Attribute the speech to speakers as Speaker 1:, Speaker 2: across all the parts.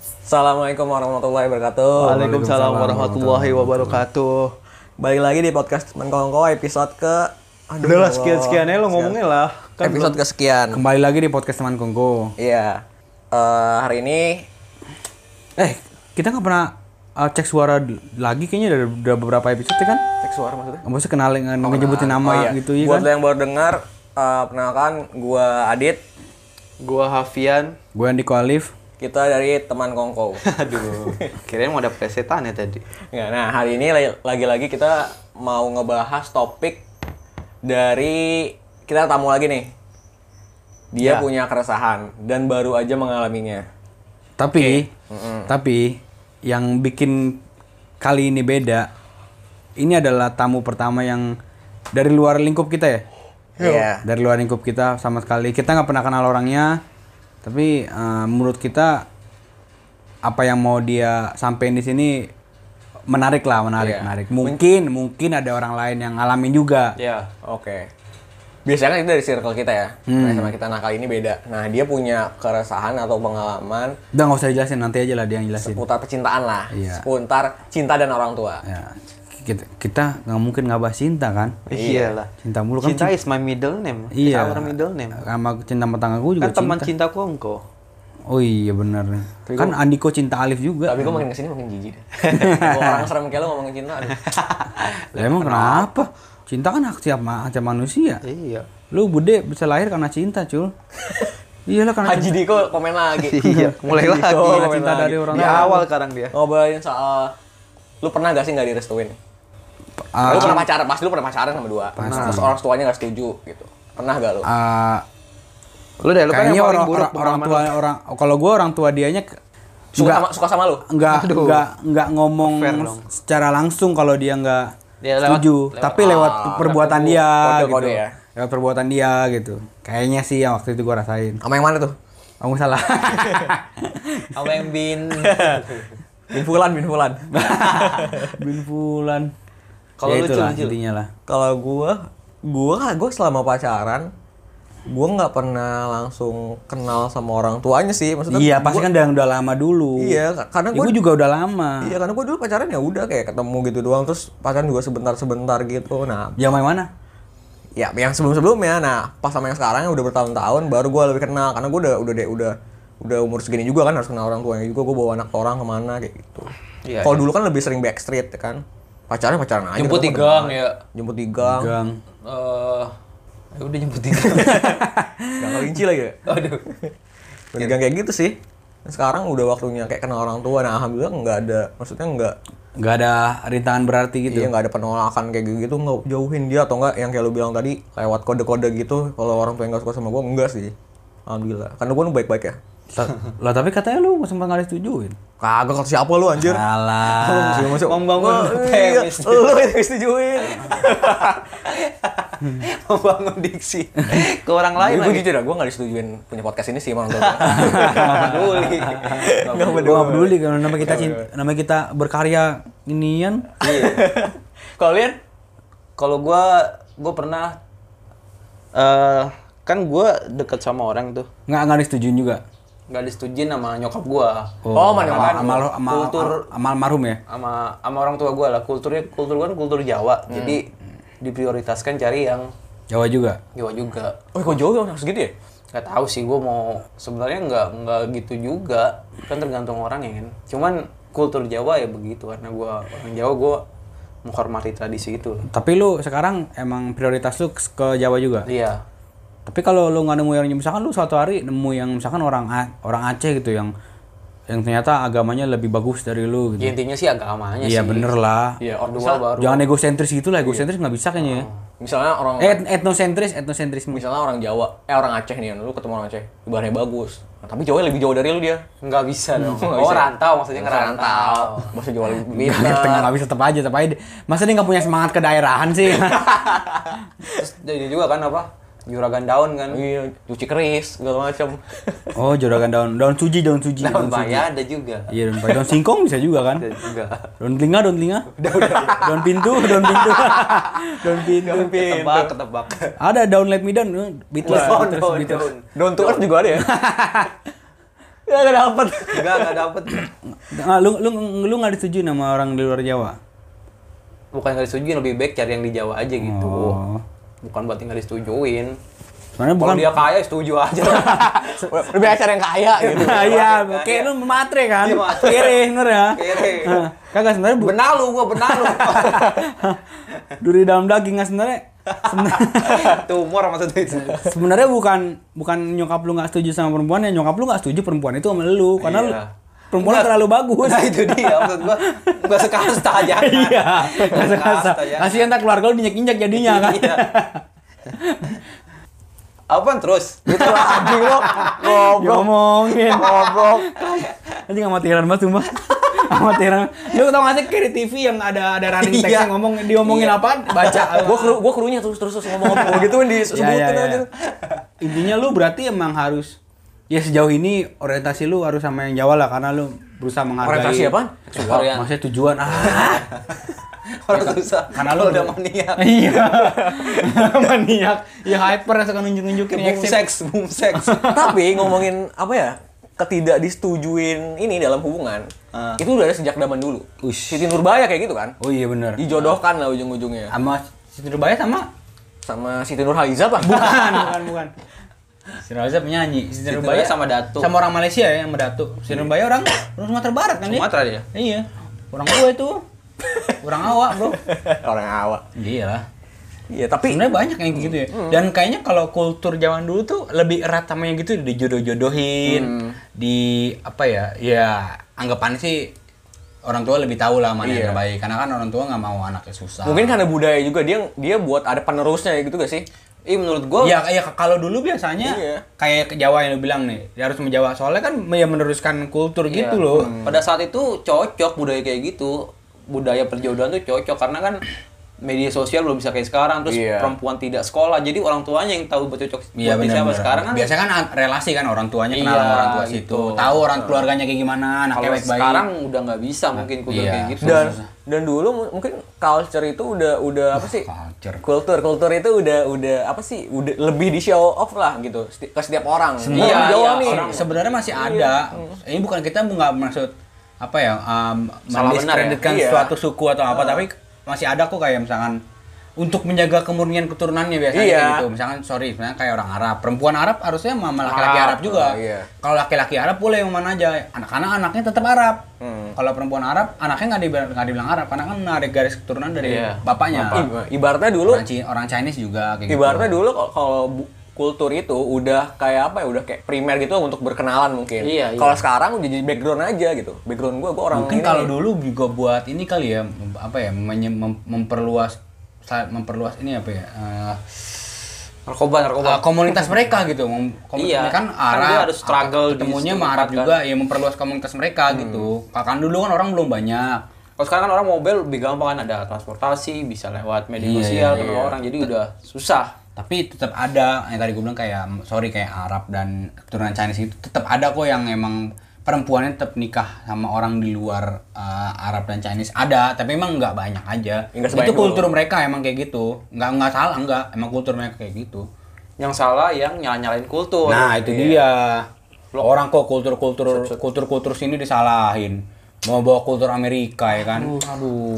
Speaker 1: Assalamualaikum warahmatullahi wabarakatuh.
Speaker 2: Waalaikumsalam warahmatullahi wabarakatuh.
Speaker 1: Balik lagi di podcast teman kongko episode ke Aduh,
Speaker 2: Udah lah
Speaker 1: ya Allah.
Speaker 2: sekian-sekian ya lo ngomongnya lah. Kan
Speaker 1: episode kesekian.
Speaker 3: Kembali lagi di podcast teman Kongko.
Speaker 1: Iya. Eh, hari ini
Speaker 3: Eh, kita nggak pernah uh, cek suara d- lagi kayaknya dari udah beberapa episode ya kan?
Speaker 1: cek suara maksudnya.
Speaker 3: Maksudnya kenalin nggak nyebutin
Speaker 2: Ah,
Speaker 1: Oh,
Speaker 3: nama gitu ya
Speaker 1: iya. Buat
Speaker 3: kan?
Speaker 1: lo yang baru dengar eh, perkenalkan gua Adit,
Speaker 2: gua Hafian.
Speaker 3: Gue Andi Alif.
Speaker 1: kita dari teman kongko.
Speaker 2: Aduh, kirain mau ada presetan ya tadi.
Speaker 1: Ya, nah, hari ini lagi- lagi-lagi kita mau ngebahas topik dari kita tamu lagi nih.
Speaker 2: Ya.
Speaker 1: Dia punya keresahan dan baru aja mengalaminya.
Speaker 3: Tapi, tapi yang bikin kali ini beda, ini adalah tamu pertama yang dari luar lingkup kita ya.
Speaker 1: Iya.
Speaker 3: Dari luar lingkup kita sama sekali. Kita nggak pernah kenal orangnya, tapi uh, menurut kita apa yang mau dia sampaikan di sini menarik lah, menarik,
Speaker 1: Iya.
Speaker 3: menarik. Mungkin, mungkin ada orang lain yang ngalamin juga.
Speaker 2: Ya.
Speaker 1: Oke. Biasanya kan itu dari circle kita ya. Nah, sama kita. Nah, kali ini beda. Nah, dia punya keresahan atau pengalaman
Speaker 3: Udah nggak usah dijelasin, nanti aja lah dia yang jelasin.
Speaker 1: seputar percintaan lah.
Speaker 3: Iya.
Speaker 1: Seputar cinta dan orang tua.
Speaker 3: Ya, kita kita nggak mungkin nggak bahas cinta kan?
Speaker 2: Iyalah.
Speaker 3: Cinta mulu kan
Speaker 2: Cinta is my middle name. It's
Speaker 3: Iya.
Speaker 2: our middle name.
Speaker 3: Sama cinta tetangga gue juga
Speaker 2: Kan teman
Speaker 3: cinta.
Speaker 2: cinta kongko.
Speaker 3: Oh iya benar. Kan Andiko cinta Alif juga.
Speaker 1: Tapi gue makin kesini makin jijik. deh. Kalau orang serem kayak lo ngomongin cinta. aduh.
Speaker 3: Lah emang kenapa? Cinta kan hak tiap, ma- tiap manusia.
Speaker 2: Iya.
Speaker 3: Lu bude bisa lahir karena cinta, Cul. Iyalah karena
Speaker 1: Haji Diko komen lagi.
Speaker 2: Iya, mulai
Speaker 1: Haji Diko
Speaker 2: lagi.
Speaker 1: komen
Speaker 3: Cinta
Speaker 1: lagi.
Speaker 3: dari orang
Speaker 2: Di
Speaker 3: lain.
Speaker 2: awal sekarang dia.
Speaker 1: Ngobrolin soal lu pernah gak sih nggak direstuin? lu
Speaker 3: Ah,
Speaker 2: kan
Speaker 1: pernah pacaran, pasti lu pernah pacaran sama dua. Terus orang tuanya nggak setuju gitu. Pernah gak lu?
Speaker 3: ah,
Speaker 2: Lu deh, lu kan
Speaker 3: kayaknya
Speaker 2: yang
Speaker 3: orang,
Speaker 2: paling buruk
Speaker 3: orang, orang tua
Speaker 2: pengalaman.
Speaker 3: orang kalau gua orang tua dianya ke-
Speaker 1: Suka
Speaker 3: nggak
Speaker 1: sama, suka sama lu?
Speaker 3: nggak
Speaker 2: Aduh.
Speaker 3: nggak nggak ngomong
Speaker 2: Fair dong.
Speaker 3: secara langsung kalau dia nggak
Speaker 2: Ya, lewat-
Speaker 3: setuju,
Speaker 2: lewat-
Speaker 3: tapi lewat
Speaker 1: ah,
Speaker 3: perbuatan
Speaker 1: lewat
Speaker 3: dia
Speaker 1: kode-kode
Speaker 3: gitu.
Speaker 1: ya.
Speaker 3: Lewat perbuatan dia gitu. Kayaknya sih yang waktu itu gua rasain.
Speaker 1: Sama yang mana tuh?
Speaker 3: Kamu salah.
Speaker 1: Sama yang bin bin Fulan, bin Fulan.
Speaker 3: Bin Fulan.
Speaker 2: Kalau
Speaker 3: Ya
Speaker 2: lu,
Speaker 3: itulah
Speaker 2: Cul, Cul.
Speaker 3: intinya lah.
Speaker 1: Kalau gua, gua gua selama pacaran gua nggak pernah langsung kenal sama orang tuanya sih maksudnya
Speaker 3: Iya,
Speaker 1: gua-
Speaker 3: pasti kan udah udah lama dulu.
Speaker 1: Iya, ka- karena
Speaker 3: Ibu
Speaker 1: gua
Speaker 3: juga udah lama.
Speaker 1: iya karena gua dulu pacaran ya udah kayak ketemu gitu doang terus pacaran juga sebentar-sebentar gitu nah
Speaker 2: Iya.
Speaker 3: Zaman mana?
Speaker 1: ya yang sebelum-sebelumnya nah pas sama yang sekarang yang udah bertahun-tahun baru gua lebih kenal karena gua udah udah deh udah udah umur segini juga kan harus kenal orang tuanya juga gua bawa anak orang kemana kayak gitu
Speaker 2: Iya,
Speaker 1: kalau dulu kan lebih sering backstreet ya kan pacaran pacaran aja
Speaker 4: jemput di
Speaker 1: ketemu
Speaker 4: gang
Speaker 1: ketemu.
Speaker 4: ya
Speaker 1: jemput di gang
Speaker 3: Gang.
Speaker 4: Eh, ya udah jemput di gang
Speaker 1: gang kelinci lagi ya
Speaker 4: aduh
Speaker 1: Jemput di gang kayak gitu sih Nah, sekarang udah waktunya kayak kenal orang tua nah alhamdulillah nggak ada maksudnya nggak
Speaker 3: Nggak ada rintangan berarti gitu.
Speaker 1: Iya nggak ada penolakan kayak gitu nggak jauhin dia atau nggak yang kayak lu bilang tadi lewat kode-kode gitu kalau orang tuanya nggak suka sama gua enggak sih alhamdulillah karena gua baik-baik ya
Speaker 3: Ta- lah tapi katanya lu sempat nggak disetujuin. Oh,
Speaker 1: Kagak kata siapa lu anjir.
Speaker 3: Ah. Alah.
Speaker 1: Masuk, masuk.
Speaker 2: Membangun
Speaker 1: Wah, iya,
Speaker 2: premis.
Speaker 1: Lu yang disetujuin.
Speaker 2: Membangun diksi ke orang lain
Speaker 1: Gue
Speaker 2: lagi.
Speaker 1: jujur ya, gue gak disetujuin punya podcast ini sih emang gue.
Speaker 2: Peduli.
Speaker 3: Gua nggak peduli kalau nama kita cin- nama kita berkarya inian.
Speaker 1: Kalian?
Speaker 2: Iya. Kalau gua gua pernah eh kan gua deket sama orang tuh.
Speaker 3: Nggak nggak disetujuin juga.
Speaker 2: nggak disetujuin sama nyokap gua
Speaker 1: Oh, mana
Speaker 3: amal
Speaker 1: mana.
Speaker 3: amal amal
Speaker 2: Kultur.
Speaker 3: amal marhum ya.
Speaker 2: sama sama orang tua gua lah kulturnya kultur gua kan kultur Jawa
Speaker 3: Hmm.
Speaker 2: jadi diprioritaskan cari yang
Speaker 3: Jawa juga.
Speaker 2: Jawa juga
Speaker 1: Oh, kok jauh harus gitu ya?
Speaker 2: nggak tahu sih gua mau sebenarnya nggak nggak gitu juga kan tergantung orang ya kan cuman kultur Jawa ya begitu karena gua orang Jawa gua menghormati tradisi itu lah.
Speaker 3: Tapi lu sekarang emang prioritas lu ke- ke Jawa juga.
Speaker 2: iya
Speaker 3: Tapi kalau lu nggak nemu yang misalkan lu suatu hari nemu yang misalkan orang A- orang Aceh gitu yang yang ternyata agamanya lebih bagus dari lu
Speaker 2: Ya,
Speaker 3: gitu.
Speaker 2: intinya sih agamanya sih
Speaker 3: Iya bener lah.
Speaker 1: Iya, orang
Speaker 2: kedua
Speaker 1: misal,
Speaker 2: baru Iya. Oh.
Speaker 3: Jangan egosentris gitu lah, egosentris nggak bisa kayaknya ya.
Speaker 1: misalnya orang
Speaker 3: Eh, et- etnosentris,
Speaker 2: Iya.
Speaker 3: etnosentris.
Speaker 1: misalnya orang Jawa, eh orang Aceh nih, lu ketemu orang Aceh, ibaratnya bagus. Nah, tapi Jawa lebih jauh dari lu dia.
Speaker 2: nggak bisa dong
Speaker 1: Hmm, Nggak
Speaker 2: oh
Speaker 1: bisa.
Speaker 2: rantau maksudnya ngerantau
Speaker 1: Ngerantau. Bahasa Jawa Iya, lebih
Speaker 3: Gak
Speaker 1: pinter.
Speaker 3: nggak bisa tetap aja, tetap aja. Masa dia nggak punya semangat kedaerahan sih?
Speaker 2: terus jadi juga kan apa juragan daun kan
Speaker 1: Iya, cuci keris, segala macam.
Speaker 3: oh, juragan daun, daun suji, daun suji,
Speaker 2: daun Iya.
Speaker 3: daun suji.
Speaker 2: bayar ada juga
Speaker 3: Iya, daun bayar. Daun singkong bisa juga kan?
Speaker 2: ada juga
Speaker 3: Daun telinga, daun telinga. daun pintu, daun pintu. daun pintu.
Speaker 2: ketebak ketebak
Speaker 3: Ada daun let me down, eh, Beatles,
Speaker 2: Daun,
Speaker 1: gitu.
Speaker 3: Beatles,
Speaker 2: daun,
Speaker 3: Beatles.
Speaker 2: daun.
Speaker 1: Down to earth juga ada ya? Ya nggak dapet.
Speaker 2: Enggak, enggak dapet.
Speaker 3: Nah, lu lu lu nggak disetujui sama orang di luar Jawa?
Speaker 2: Bukan nggak disetujuin, lebih baik cari yang di Jawa aja gitu.
Speaker 3: Oh.
Speaker 2: Bukan buat tinggal disetujuin.
Speaker 3: Sebenarnya
Speaker 2: Kalau
Speaker 3: bukan.
Speaker 2: dia kaya setuju aja.
Speaker 1: Nah, Lebih acara yang kaya gitu.
Speaker 3: Nah, iya,
Speaker 2: Iya.
Speaker 3: kayak lu matre kan.
Speaker 2: Iya, matre.
Speaker 3: Kiri, bener ya?
Speaker 2: Kere.
Speaker 3: Nah, Kagak sebenarnya bu-
Speaker 2: Benar lu, gua benar lu.
Speaker 3: duri dalam daging nggak sebenarnya. sebenarnya-
Speaker 2: Tumor maksudnya itu.
Speaker 3: Sebenarnya bukan bukan nyokap lu nggak setuju sama perempuan ya nyokap lu nggak setuju perempuan itu sama lu karena lu,
Speaker 2: Iya.
Speaker 3: perempuan lu terlalu bagus.
Speaker 2: Nah itu dia maksud gua enggak sekasta aja. kan?
Speaker 3: iya.
Speaker 2: Enggak
Speaker 3: Kasa-kasa.
Speaker 2: jangan.
Speaker 3: Kasihan tak keluarga lu diinjak-injak jadinya kan.
Speaker 2: ya. Iya. Apaan terus?
Speaker 1: Itu lah, anjing lo. Goblok.
Speaker 3: Ngomongin.
Speaker 1: Goblok.
Speaker 3: Nanti nggak matiran banget sumpah. Amatiran. Lu tau gak sih kayak di TV yang ada ada running text
Speaker 2: Iya.
Speaker 3: yang ngomong diomongin
Speaker 2: Iya.
Speaker 3: apaan? Baca.
Speaker 1: Gue keru, gua kerunya terus terus terus ngomong-ngomong gitu kan
Speaker 3: Ya,
Speaker 1: disebutin
Speaker 3: ya, ya.
Speaker 1: aja.
Speaker 3: Intinya lu berarti emang harus ya sejauh ini orientasi lu harus sama yang Jawa lah karena lu berusaha menghargai.
Speaker 1: Orientasi apaan?
Speaker 2: Seksual.
Speaker 3: Maksudnya tujuan. Ah.
Speaker 2: Orang
Speaker 1: Iya,
Speaker 2: susah.
Speaker 1: kan?
Speaker 3: karena lu
Speaker 2: Kalau udah
Speaker 3: ber-
Speaker 2: maniak.
Speaker 3: iya. maniak. Ya hyper yang suka nunjuk-nunjukin
Speaker 2: Boom
Speaker 3: ya. eksib.
Speaker 2: sex, boom sex.
Speaker 1: Tapi ngomongin apa ya? Ketidak disetujuin ini dalam hubungan.
Speaker 2: Ah.
Speaker 1: Itu udah ada sejak zaman dulu.
Speaker 3: Ush.
Speaker 1: Siti Nurbaya kayak gitu kan.
Speaker 3: Oh iya benar.
Speaker 1: Dijodohkan lah ujung-ujungnya.
Speaker 3: Sama Siti Nurbaya sama?
Speaker 1: Sama Siti Nurhaliza apa?
Speaker 3: Bukan, bukan, bukan. Siti Nurbaya penyanyi. Siti
Speaker 2: Siti
Speaker 3: Nurbaya
Speaker 2: Nurbaya sama Datu. Iya.
Speaker 3: Sama orang Malaysia ya, sama Datu. Siti Nurbaya orang orang Sumatera Barat kan dia?
Speaker 2: Sumatera dia?
Speaker 3: Iya. Orang gua itu. Orang awak, Bro.
Speaker 1: Orang awak.
Speaker 3: Iya lah.
Speaker 1: Iya, tapi
Speaker 3: Sebenarnya banyak yang gitu ya. Dan kayaknya kalau kultur zaman dulu tuh lebih erat sama yang gitu
Speaker 2: Mm.
Speaker 3: dijodoh-jodohin, di apa ya? Ya anggapannya sih orang tua lebih tahu lah mana
Speaker 1: Iya.
Speaker 3: yang terbaik. Karena kan orang tua nggak mau anaknya susah.
Speaker 1: mungkin karena budaya juga dia dia buat ada penerusnya gitu gak sih?
Speaker 2: Ih menurut gua
Speaker 3: Ya, ya kalau dulu biasanya
Speaker 1: Iya.
Speaker 3: kayak ke Jawa yang lu bilang nih, dia harus menjawa soalnya kan ya meneruskan kultur
Speaker 2: Iya.
Speaker 3: gitu loh.
Speaker 2: Pada saat itu cocok budaya kayak gitu. Budaya perjodohan tuh cocok karena kan media sosial belum bisa kayak sekarang terus
Speaker 1: Iya.
Speaker 2: perempuan tidak sekolah jadi orang tuanya yang tahu buat cocok
Speaker 3: Iya
Speaker 2: buat siapa
Speaker 3: benar.
Speaker 2: sekarang kan
Speaker 3: biasanya kan an- relasi kan orang tuanya kenal
Speaker 2: Iya,
Speaker 3: sama orang tua situ,
Speaker 2: gitu.
Speaker 3: tahu orang keluarganya kayak gimana, anaknya
Speaker 2: kalau
Speaker 3: baik-baik.
Speaker 2: sekarang udah nggak bisa mungkin kudu
Speaker 3: Iya.
Speaker 2: kayak gitu
Speaker 1: Dan dan dulu mu- mungkin culture itu udah udah apa sih?
Speaker 3: Culture.
Speaker 1: Kultur kultur itu udah udah apa sih? Udah lebih di show off lah gitu seti- ke setiap orang.
Speaker 3: Semua
Speaker 1: Orang
Speaker 2: iya,
Speaker 1: Jawa nih. Iya.
Speaker 3: Se- sebenarnya masih ada. Ini bukan kita nggak maksud apa ya um,
Speaker 2: Salah benar ya?
Speaker 3: mendiskreditkan
Speaker 1: Iya.
Speaker 3: suatu suku atau apa, tapi masih ada kok kayak misalkan untuk menjaga kemurnian keturunannya biasanya
Speaker 1: Iya.
Speaker 3: kayak gitu. Misalkan sorry, misalkan kayak orang Arab, perempuan Arab harusnya sama laki-laki
Speaker 1: Arab.
Speaker 3: Arab juga.
Speaker 1: Oh, iya.
Speaker 3: Kalau laki-laki Arab boleh yang mana aja, anak-anak anaknya tetap Arab.
Speaker 1: Hmm.
Speaker 3: Kalau perempuan Arab, anaknya nggak dibilang, nggak dibilang Arab karena kan ada garis keturunan dari
Speaker 2: Iya.
Speaker 3: bapaknya.
Speaker 1: Iba- Ibaratnya dulu
Speaker 3: Orang, Ci- orang Chinese juga kayak gitu.
Speaker 1: ibaratnya dulu kalau- kalau bu- kultur itu udah kayak apa ya? Udah kayak primer gitu untuk berkenalan mungkin.
Speaker 2: Iya, iya.
Speaker 1: Kalau sekarang udah jadi background aja gitu. Background gua gua orang ini.
Speaker 3: mungkin kalau dulu juga buat ini kali ya mem- apa ya menye- mem- memperluas sa- memperluas ini apa ya eh,
Speaker 2: narkoba narkoba
Speaker 3: eh, komunitas mereka gitu Mem-
Speaker 2: Iya.
Speaker 3: komunitas kan
Speaker 2: Kan dia
Speaker 3: Arab
Speaker 2: harus struggle di kan.
Speaker 3: ketemunya
Speaker 2: situ
Speaker 3: sama Arab
Speaker 2: tempat,
Speaker 3: juga ya memperluas komunitas mereka gitu
Speaker 2: Hmm.
Speaker 3: kan dulu kan orang belum banyak
Speaker 2: Kalau sekarang kan orang mobil lebih gampang kan ada transportasi, bisa lewat media
Speaker 3: Iya,
Speaker 2: sosial
Speaker 3: iya,
Speaker 2: ketemu orang jadi udah susah.
Speaker 3: tapi tetap ada yang tadi gue bilang kayak sorry kayak Arab dan keturunan Chinese itu tetap ada kok yang emang perempuannya tetap nikah sama orang di luar eh, Arab dan Chinese ada tapi emang nggak banyak aja
Speaker 1: Nggak
Speaker 3: itu
Speaker 1: sebanyak dulu.
Speaker 3: kultur mereka emang kayak gitu nggak nggak salah nggak emang kultur mereka kayak gitu
Speaker 2: Yang salah yang nyala-nyalain kultur.
Speaker 3: Nah itu dia. Orang kok kultur-kultur kultur-kultur sini disalahin. Mau bawa kultur Amerika ya kan? Aduh,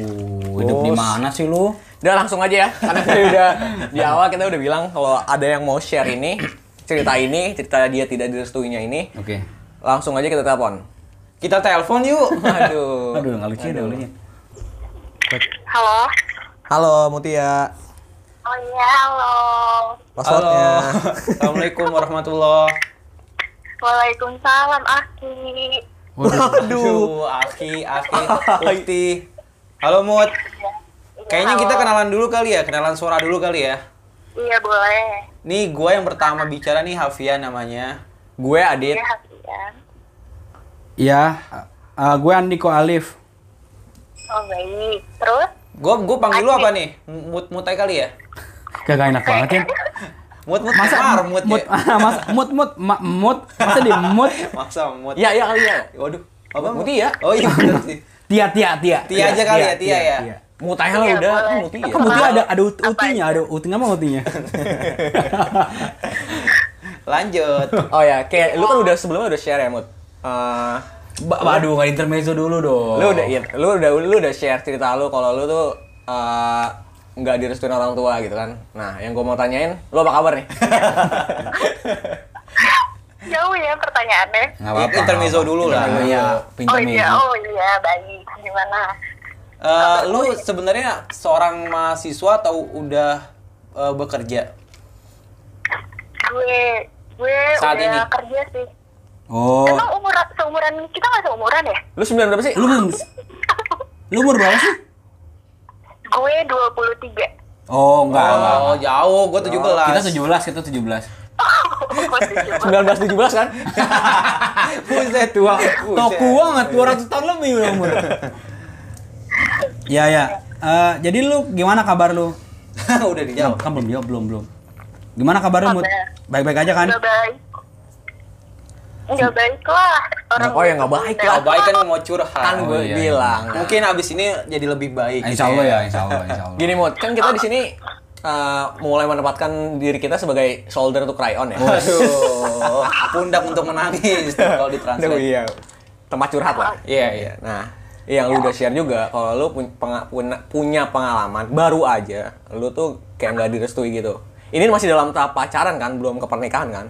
Speaker 3: hidup di mana sih lu?
Speaker 1: Udah langsung aja ya, karena kita udah di awal kita udah bilang kalau ada yang mau share ini cerita ini cerita dia tidak direstuinya ini
Speaker 3: Oke.
Speaker 1: langsung aja kita telepon.
Speaker 2: Kita telepon yuk.
Speaker 1: Aduh.
Speaker 3: Aduh, nggak lucu deh ulunya.
Speaker 5: Halo.
Speaker 1: Halo Mutia,
Speaker 5: Oh iya, halo.
Speaker 2: Halo. Assalamualaikum warahmatullahi.
Speaker 5: Waalaikumsalam, Aki.
Speaker 2: Waduh, Aki, Aki, Ukti. Halo Mut. Kayaknya kita kenalan dulu kali ya, kenalan suara dulu kali ya.
Speaker 5: Iya, boleh.
Speaker 2: Nih gue yang pertama bicara nih Hafian namanya.
Speaker 1: gue Adit.
Speaker 5: Iya, Hafian.
Speaker 3: Iya, eh, gue Andiko Alif.
Speaker 5: Oh, baik. Terus?
Speaker 2: Gue gue panggil lu apa nih? Mut mutai kali ya.
Speaker 3: Kagak enak banget ya.
Speaker 2: Mut mut
Speaker 3: Masa
Speaker 2: Mar,
Speaker 3: mut
Speaker 2: mut,
Speaker 3: mut ah,
Speaker 2: ya.
Speaker 3: mas mut mut ma- mut masa di mut
Speaker 2: Masa mut.
Speaker 1: Ya ya kali ya.
Speaker 2: Waduh. Apa
Speaker 1: Mut ya?
Speaker 2: Oh iya bener sih.
Speaker 3: tia tia tia. Iya,
Speaker 2: Tia aja kali ya, Tia ya.
Speaker 1: Mutai lah
Speaker 5: Iya,
Speaker 1: udah,
Speaker 5: boleh.
Speaker 1: kan Mutia.
Speaker 3: Kan Mutia ada ada ut- utinya, ada utinya apa utinya?
Speaker 2: Lanjut.
Speaker 1: Oh ya, kayak lu kan udah sebelumnya udah share ya Mut eh,
Speaker 3: Ba- Waduh, nggak intermezzo dulu dong.
Speaker 1: lu udah ya, lu udah lu udah share cerita lu kalau lu tuh eh, nggak direstuin orang tua gitu kan. Nah, yang gua mau tanyain, lu apa kabar nih?
Speaker 5: Jauh ya pertanyaannya.
Speaker 3: Nggak apa-apa.
Speaker 2: Intermezzo
Speaker 3: nggak
Speaker 2: dulu
Speaker 3: apa-apa.
Speaker 2: lah.
Speaker 3: Intermezzo,
Speaker 1: Iya.
Speaker 5: Oh
Speaker 3: intermezzo.
Speaker 5: iya, oh iya, baik. Gimana?
Speaker 2: Eh, lu sebenarnya seorang mahasiswa atau udah eh, bekerja?
Speaker 5: Gue gue
Speaker 2: Saat
Speaker 5: udah
Speaker 2: ini.
Speaker 5: kerja sih.
Speaker 3: Oh,
Speaker 5: Emang umuran seumuran kita nggak seumuran ya?
Speaker 1: Lu sembilan berapa sih?
Speaker 3: lu belum Lu umur berapa sih?
Speaker 5: Gue 23.
Speaker 3: Oh, enggak, enggak.
Speaker 2: Oh, jauh, gua 17.
Speaker 3: Kita 17, kita 17.
Speaker 5: Oh,
Speaker 1: Sembilan belas tujuh belas kan?
Speaker 2: Buset tua.
Speaker 3: Toku banget, 200 tahun lebih udah umur. ya, ya. Eh, jadi lu gimana kabar lu?
Speaker 2: Udah dijawab.
Speaker 3: Kan belum jawab, belum, belum. Gimana kabar lu? Mut?
Speaker 5: Kabar.
Speaker 3: Baik-baik aja kan?
Speaker 5: Nggak baik. Nggak baik lah. Orang
Speaker 1: Oh, ya nggak baik
Speaker 5: udah-
Speaker 2: Kalau baik kan mau curhat.
Speaker 1: Kan
Speaker 3: Oh,
Speaker 1: gue
Speaker 3: iya, iya.
Speaker 1: bilang.
Speaker 2: Mungkin abis ini jadi lebih baik. gitu
Speaker 3: Insya Allah ya, insya Allah, insya Allah.
Speaker 1: Gini mod, kan kita di sini eh, mulai menempatkan diri kita sebagai soldier to cry on ya.
Speaker 2: Aduh, pundak untuk menangis kalau
Speaker 1: Aduh,
Speaker 2: ditranslate.
Speaker 1: iya. Tempat curhat lah.
Speaker 2: Iya, iya.
Speaker 1: Nah, yang lu udah share juga kalau lu pun- penga- puna- punya pengalaman baru aja, lu tuh kayak nggak direstui gitu. Ini masih dalam tahap pacaran kan, belum ke pernikahan kan?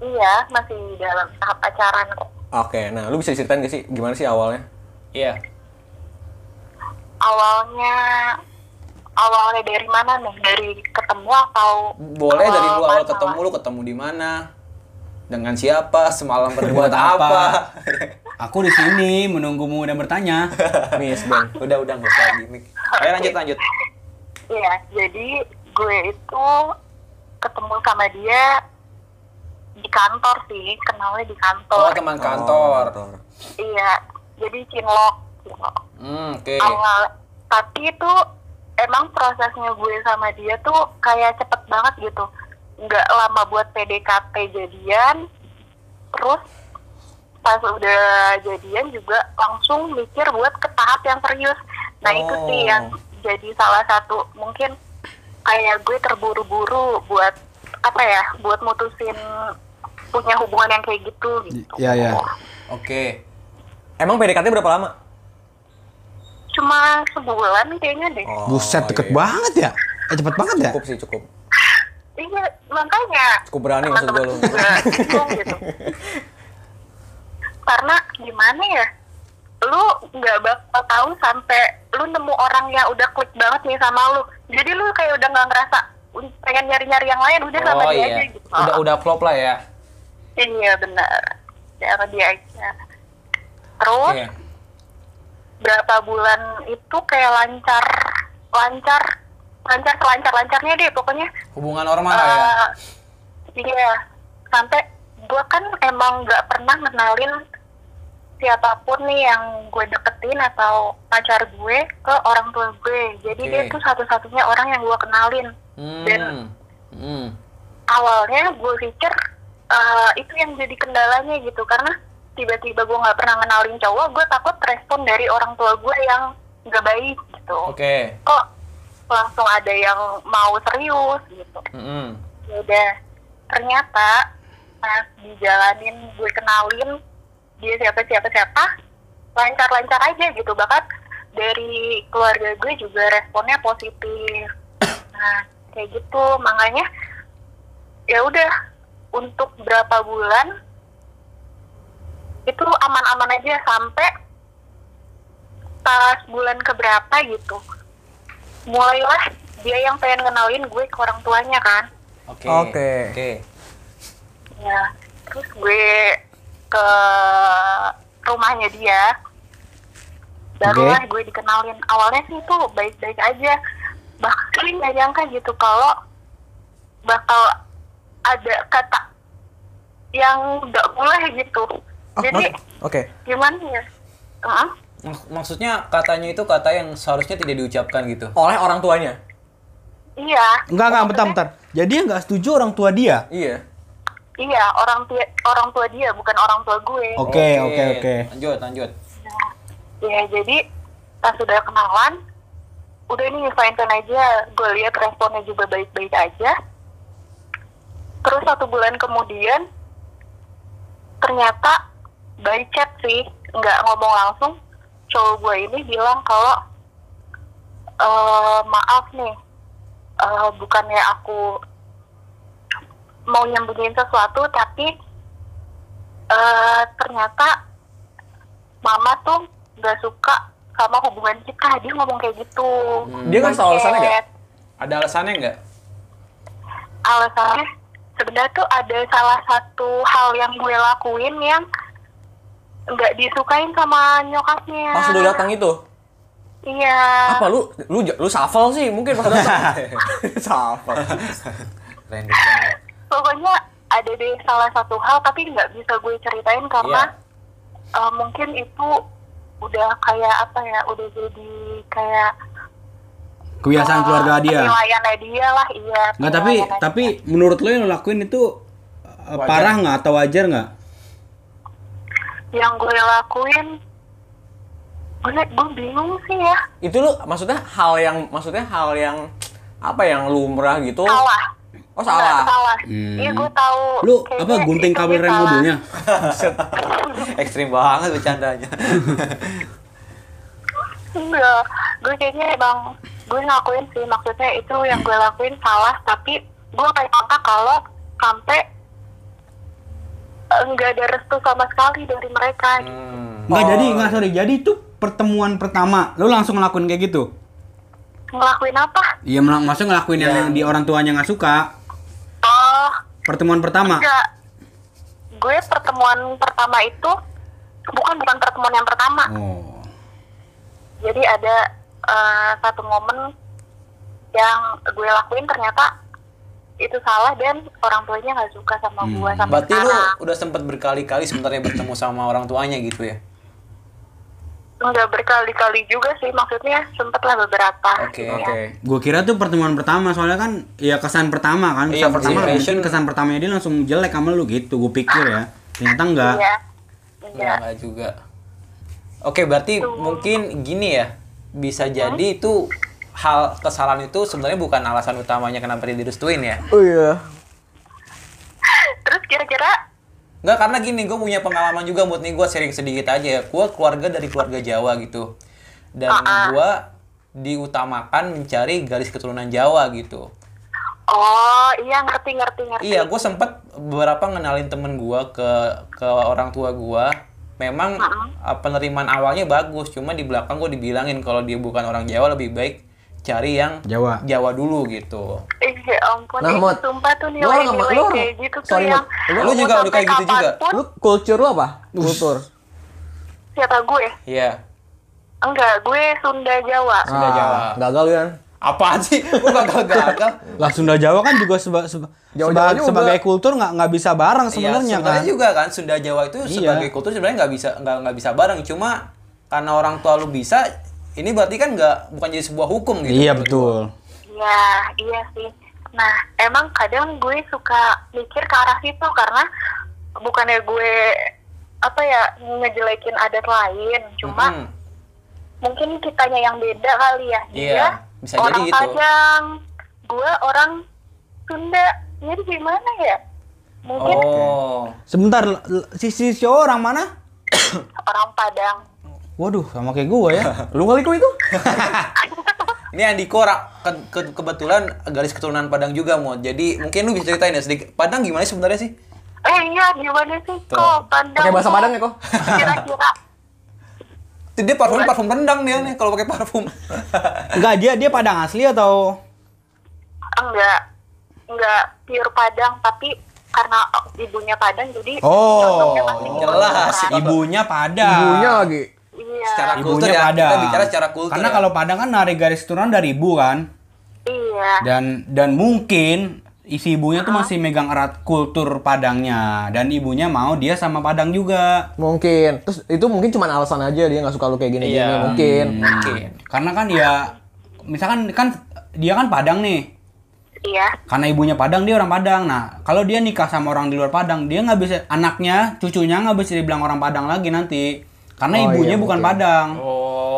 Speaker 5: Iya, masih dalam tahap pacaran kok.
Speaker 1: Oke, nah lu bisa ceritain gak sih gimana sih awalnya?
Speaker 2: Iya.
Speaker 5: Awalnya awalnya dari mana nih? Dari ketemu atau
Speaker 2: Boleh dari
Speaker 5: awal
Speaker 2: lu awal
Speaker 5: pacaran?
Speaker 2: ketemu lu ketemu di mana? Dengan siapa? Semalam
Speaker 3: Buat
Speaker 2: berbuat
Speaker 3: apa?
Speaker 2: apa?
Speaker 3: Aku di sini menunggumu dan bertanya.
Speaker 1: Miss Ben.
Speaker 2: udah udah nggak usah gimmick. Ayo lanjut lanjut.
Speaker 5: Iya, jadi gue itu ketemu sama dia di kantor sih, kenalnya di kantor.
Speaker 2: Oh
Speaker 3: Kan
Speaker 2: teman
Speaker 1: Oh,
Speaker 3: Oh.
Speaker 2: kantor.
Speaker 5: Iya, jadi cinlok. cinlok.
Speaker 2: Hmm, oke.
Speaker 5: Awal, tapi itu emang prosesnya gue sama dia tuh kayak cepet banget gitu. Nggak lama buat PDKT jadian, terus pas udah jadian juga langsung mikir buat ke tahap yang serius. Nah itu sih
Speaker 2: Oh.
Speaker 5: yang jadi salah satu mungkin kayak gue terburu-buru buat apa ya, buat mutusin punya hubungan yang kayak gitu gitu.
Speaker 3: Ya, ya.
Speaker 2: Oke.
Speaker 1: Emang PDKT berapa lama?
Speaker 5: Cuma sebulan kayaknya deh.
Speaker 3: Oh.
Speaker 1: Buset, deket
Speaker 3: banget ya? Eh, cepet banget ya?
Speaker 1: Cukup sih, cukup.
Speaker 5: Iya, makanya.
Speaker 1: Cukup berani maksud gua lu.
Speaker 5: teman-teman juga bingung gitu. Karena gimana ya? Lu nggak bakal tahu sampai lu nemu orang yang udah klik banget nih sama lu. Jadi lu kayak udah nggak ngerasa "Uy, pengen nyari-nyari yang lain udah sama
Speaker 2: Oh
Speaker 5: dia aja
Speaker 2: iya.
Speaker 5: gitu.
Speaker 2: Udah udah klop lah ya.
Speaker 5: Iya benar. Udah sama dia aja. Terus
Speaker 2: Iya.
Speaker 5: berapa bulan itu kayak lancar lancar lancar lancar lancarnya deh pokoknya
Speaker 2: Hubungan normal lah ya.
Speaker 5: Eh, Iya, sampai gue kan emang nggak pernah kenalin siapapun nih yang gue deketin atau pacar gue ke orang tua gue. Jadi
Speaker 2: Oke.
Speaker 5: dia tuh satu-satunya orang yang gue kenalin. Dan
Speaker 2: Hmm. Hmm.
Speaker 5: awalnya gue pikir eh, itu yang jadi kendalanya gitu karena tiba-tiba gue nggak pernah kenalin cowok, gue takut respon dari orang tua gue yang nggak baik gitu.
Speaker 2: Oke.
Speaker 5: Kok langsung ada yang mau serius gitu.
Speaker 2: Hmm.
Speaker 5: Ya udah ternyata pas dijalanin gue kenalin dia siapa siapa siapa lancar lancar aja gitu bahkan dari keluarga gue juga responnya positif nah kayak gitu makanya ya udah untuk berapa bulan itu aman-aman aja sampai pas bulan keberapa gitu mulailah dia yang pengen kenalin gue ke orang tuanya kan
Speaker 2: Oke.
Speaker 1: Oke.
Speaker 2: Oke.
Speaker 5: Ya, terus gue ke rumahnya dia. Barulah gue dikenalin. Awalnya sih itu baik-baik aja. Bahkan nggak nyangka gitu kalau bakal ada kata yang nggak boleh gitu.
Speaker 1: Oh,
Speaker 5: Jadi
Speaker 1: Oke.
Speaker 5: gimana ya? Heeh.
Speaker 2: Mak- Maksudnya katanya itu kata yang seharusnya tidak diucapkan gitu.
Speaker 1: Oleh orang tuanya?
Speaker 5: Iya.
Speaker 3: Enggak, enggak, bentar, bentar. Jadi yang nggak setuju orang tua dia?
Speaker 1: Iya.
Speaker 5: Iya, orang tua orang tua dia bukan orang tua gue.
Speaker 3: Oke, oke, oke.
Speaker 2: Lanjut, lanjut.
Speaker 5: Ya, jadi pas sudah kenalan, udah nih fine fine aja. Gue lihat responnya juga baik-baik aja. Terus satu bulan kemudian, ternyata by chat sih nggak ngomong langsung cowok gue ini bilang kalau "Eh, maaf nih eh, bukannya aku mau nyembunyiin sesuatu tapi eh, ternyata mama tuh nggak suka sama hubungan kita dia ngomong kayak gitu
Speaker 1: Dia ngasih tau alasannya Kan nggak?
Speaker 5: Chat.
Speaker 2: Ada alasannya nggak?
Speaker 5: alasannya sebenarnya tuh ada salah satu hal yang gue lakuin yang nggak disukain sama nyokapnya.
Speaker 1: Pas lu datang itu,
Speaker 5: Iya.
Speaker 1: apa lu lu lu shuffle sih mungkin pas datang. shuffle.
Speaker 4: Random
Speaker 2: Iya.
Speaker 4: banget.
Speaker 5: Pokoknya ada deh salah satu hal tapi nggak bisa gue ceritain karena
Speaker 3: Iya.
Speaker 5: eh, mungkin itu udah kayak apa ya udah jadi kayak
Speaker 3: Kebiasaan
Speaker 5: eh,
Speaker 3: keluarga dia.
Speaker 5: penilaiannya dia lah iya
Speaker 3: Nggak tapi
Speaker 5: penilaiannya dia.
Speaker 3: tapi menurut lo yang lo lakuin itu eh, parah nggak atau wajar nggak?
Speaker 5: yang gue lakuin gue gue bingung sih ya
Speaker 1: itu lu maksudnya hal yang maksudnya hal yang apa yang lumrah gitu?
Speaker 5: salah
Speaker 1: Oh salah.
Speaker 5: Nggak, salah
Speaker 3: Hmm.
Speaker 5: iya gue tahu
Speaker 3: Lu
Speaker 5: Kayaknya
Speaker 3: apa gunting
Speaker 5: itu
Speaker 3: kabel
Speaker 5: gue
Speaker 3: rem
Speaker 5: salah.
Speaker 3: mobilnya?
Speaker 4: Ekstrim banget bercandanya.
Speaker 5: Enggak, gue Iya, kayaknya emang gue ngakuin sih maksudnya itu yang gue lakuin salah tapi gue kayak nyangka kalau sampai eh, nggak ada restu sama sekali dari mereka.
Speaker 3: Hmm. Nggak jadi nggak sorry jadi itu pertemuan pertama lo langsung ngelakuin kayak gitu?
Speaker 5: Ngelakuin apa?
Speaker 3: Iya melak- maksudnya ngelakuin yang, yang di orang tuanya nggak suka
Speaker 5: Oh,
Speaker 3: pertemuan pertama.
Speaker 5: enggak. Gue pertemuan pertama itu bukan bukan pertemuan yang pertama.
Speaker 3: Oh.
Speaker 5: Jadi ada eh, satu momen yang gue lakuin ternyata itu salah dan orang tuanya nggak suka sama gue sampai
Speaker 2: Hmm. Berarti lu
Speaker 5: sekarang.
Speaker 2: udah sempat berkali-kali sebenarnya bertemu sama orang tuanya gitu ya?
Speaker 5: nggak berkali-kali juga sih maksudnya sempet lah beberapa
Speaker 2: Oke.
Speaker 5: gitu ya.
Speaker 3: Gue kira tuh pertemuan pertama soalnya kan ya kesan pertama kan
Speaker 2: Iya,
Speaker 3: kesan pertama
Speaker 2: first impression.
Speaker 3: mungkin kesan pertamanya dia langsung jelek sama lu gitu gue pikir ya ternyata enggak
Speaker 5: iya
Speaker 2: Enggak,
Speaker 5: iya
Speaker 2: enggak juga. Oke, berarti mungkin gini ya. Bisa jadi itu hal kesalahan itu sebenarnya bukan alasan utamanya kenapa dia direstuin ya.
Speaker 1: Oh iya.
Speaker 5: terus kira-kira
Speaker 2: Enggak, karena gini, gue punya pengalaman juga buat nih gue sharing sedikit aja ya. Gue keluarga dari keluarga Jawa gitu. Dan gue diutamakan mencari garis keturunan Jawa gitu.
Speaker 5: oh iya ngerti ngerti ngerti
Speaker 2: Iya, gue sempet beberapa ngenalin temen gue ke ke orang tua gue. Memang eh, penerimaan awalnya bagus, cuma di belakang gue dibilangin kalau dia bukan orang Jawa lebih baik cari yang
Speaker 3: Jawa.
Speaker 2: Jawa dulu gitu.
Speaker 5: Ih, ya ampun
Speaker 1: Nah,
Speaker 5: ih,
Speaker 1: Mot,
Speaker 5: sumpah tuh
Speaker 1: lu
Speaker 5: nilai
Speaker 1: nggak-
Speaker 5: nilai
Speaker 1: lu nggak-
Speaker 5: kayak gitu tuh
Speaker 1: sorry,
Speaker 5: yang
Speaker 1: Mot,
Speaker 2: lu- lu juga
Speaker 5: mau
Speaker 2: udah
Speaker 5: sampai
Speaker 2: kayak gitu juga?
Speaker 5: kapanpun,
Speaker 1: Lu culture lu apa? Kultur.
Speaker 5: siapa gue
Speaker 2: Iya.
Speaker 5: enggak gue Sunda Jawa
Speaker 1: Sudah
Speaker 2: Jawa.
Speaker 1: Gagal kan?
Speaker 2: Apaan sih? Gue gagal-gagal.
Speaker 3: lah Sunda Jawa kan juga seba- seba-
Speaker 1: Jawa-Jawa
Speaker 3: seba-
Speaker 1: juga.
Speaker 3: sebagai kultur nggak nggak bisa bareng
Speaker 2: Iya,
Speaker 3: sebenarnya kan
Speaker 2: juga kan Sunda Jawa itu
Speaker 3: Iya.
Speaker 2: sebagai kultur sebenarnya nggak bisa nggak nggak bisa bareng cuma karena orang tua lu bisa ini berarti kan nggak bukan jadi sebuah hukum gitu.
Speaker 3: iya betul
Speaker 5: Iya, iya sih. Nah, emang kadang gue suka mikir ke arah situ karena bukannya gue apa ya ngejelekin adat lain, cuma
Speaker 2: Mm-mm.
Speaker 5: mungkin kitanya yang beda kali ya. Dia
Speaker 2: Iya, bisa jadi
Speaker 5: orang
Speaker 2: gitu.
Speaker 5: Padang, gue orang Sunda. Jadi gimana ya? Mungkin
Speaker 2: Oh.
Speaker 3: sebentar l- l- si si si orang mana
Speaker 5: orang Padang.
Speaker 3: waduh sama kayak gue ya
Speaker 1: Lu kali kok itu?
Speaker 2: Ini Andiko ra- ke- ke- kebetulan garis keturunan Padang juga mau. Jadi mungkin lu bisa ceritain ya sedikit. Padang gimana sih sebenarnya sih?
Speaker 5: Eh iya, gimana sih
Speaker 2: Tuh.
Speaker 5: kok Padang?
Speaker 1: Pakai bahasa
Speaker 5: kok?
Speaker 1: Padang ya, kok?
Speaker 5: Kira-kira.
Speaker 2: Itu Dia parfum parfum rendang dia nih kalau pakai parfum.
Speaker 3: enggak dia dia Padang asli atau
Speaker 5: enggak enggak pure Padang tapi karena ibunya Padang jadi
Speaker 3: Oh,
Speaker 5: contohnya pasti gitu,
Speaker 2: jelas.
Speaker 5: kan?
Speaker 3: ibunya Padang
Speaker 1: Ibunya lagi.
Speaker 5: iya
Speaker 2: secara kultur
Speaker 3: ibunya
Speaker 2: ya.
Speaker 3: Padang
Speaker 2: Kita bicara secara kultur.
Speaker 3: karena
Speaker 2: ya.
Speaker 3: kalau Padang kan narik garis keturunan dari ibu kan
Speaker 5: iya
Speaker 3: dan dan mungkin isi ibunya tuh masih megang erat kultur Padangnya dan ibunya mau dia sama Padang juga
Speaker 1: Mungkin. Terus itu mungkin cuma alasan aja dia nggak suka lu kayak gini-gini.
Speaker 2: Iya.
Speaker 1: Hmm, Mungkin.
Speaker 2: mungkin.
Speaker 3: karena kan dia misalkan kan dia kan Padang nih
Speaker 5: iya
Speaker 3: karena ibunya Padang dia orang Padang nah kalau dia nikah sama orang di luar Padang dia nggak bisa anaknya cucunya nggak bisa dibilang orang Padang lagi nanti karena
Speaker 1: Oh,
Speaker 3: ibunya
Speaker 1: iya,
Speaker 3: bukan
Speaker 1: mungkin.
Speaker 3: Padang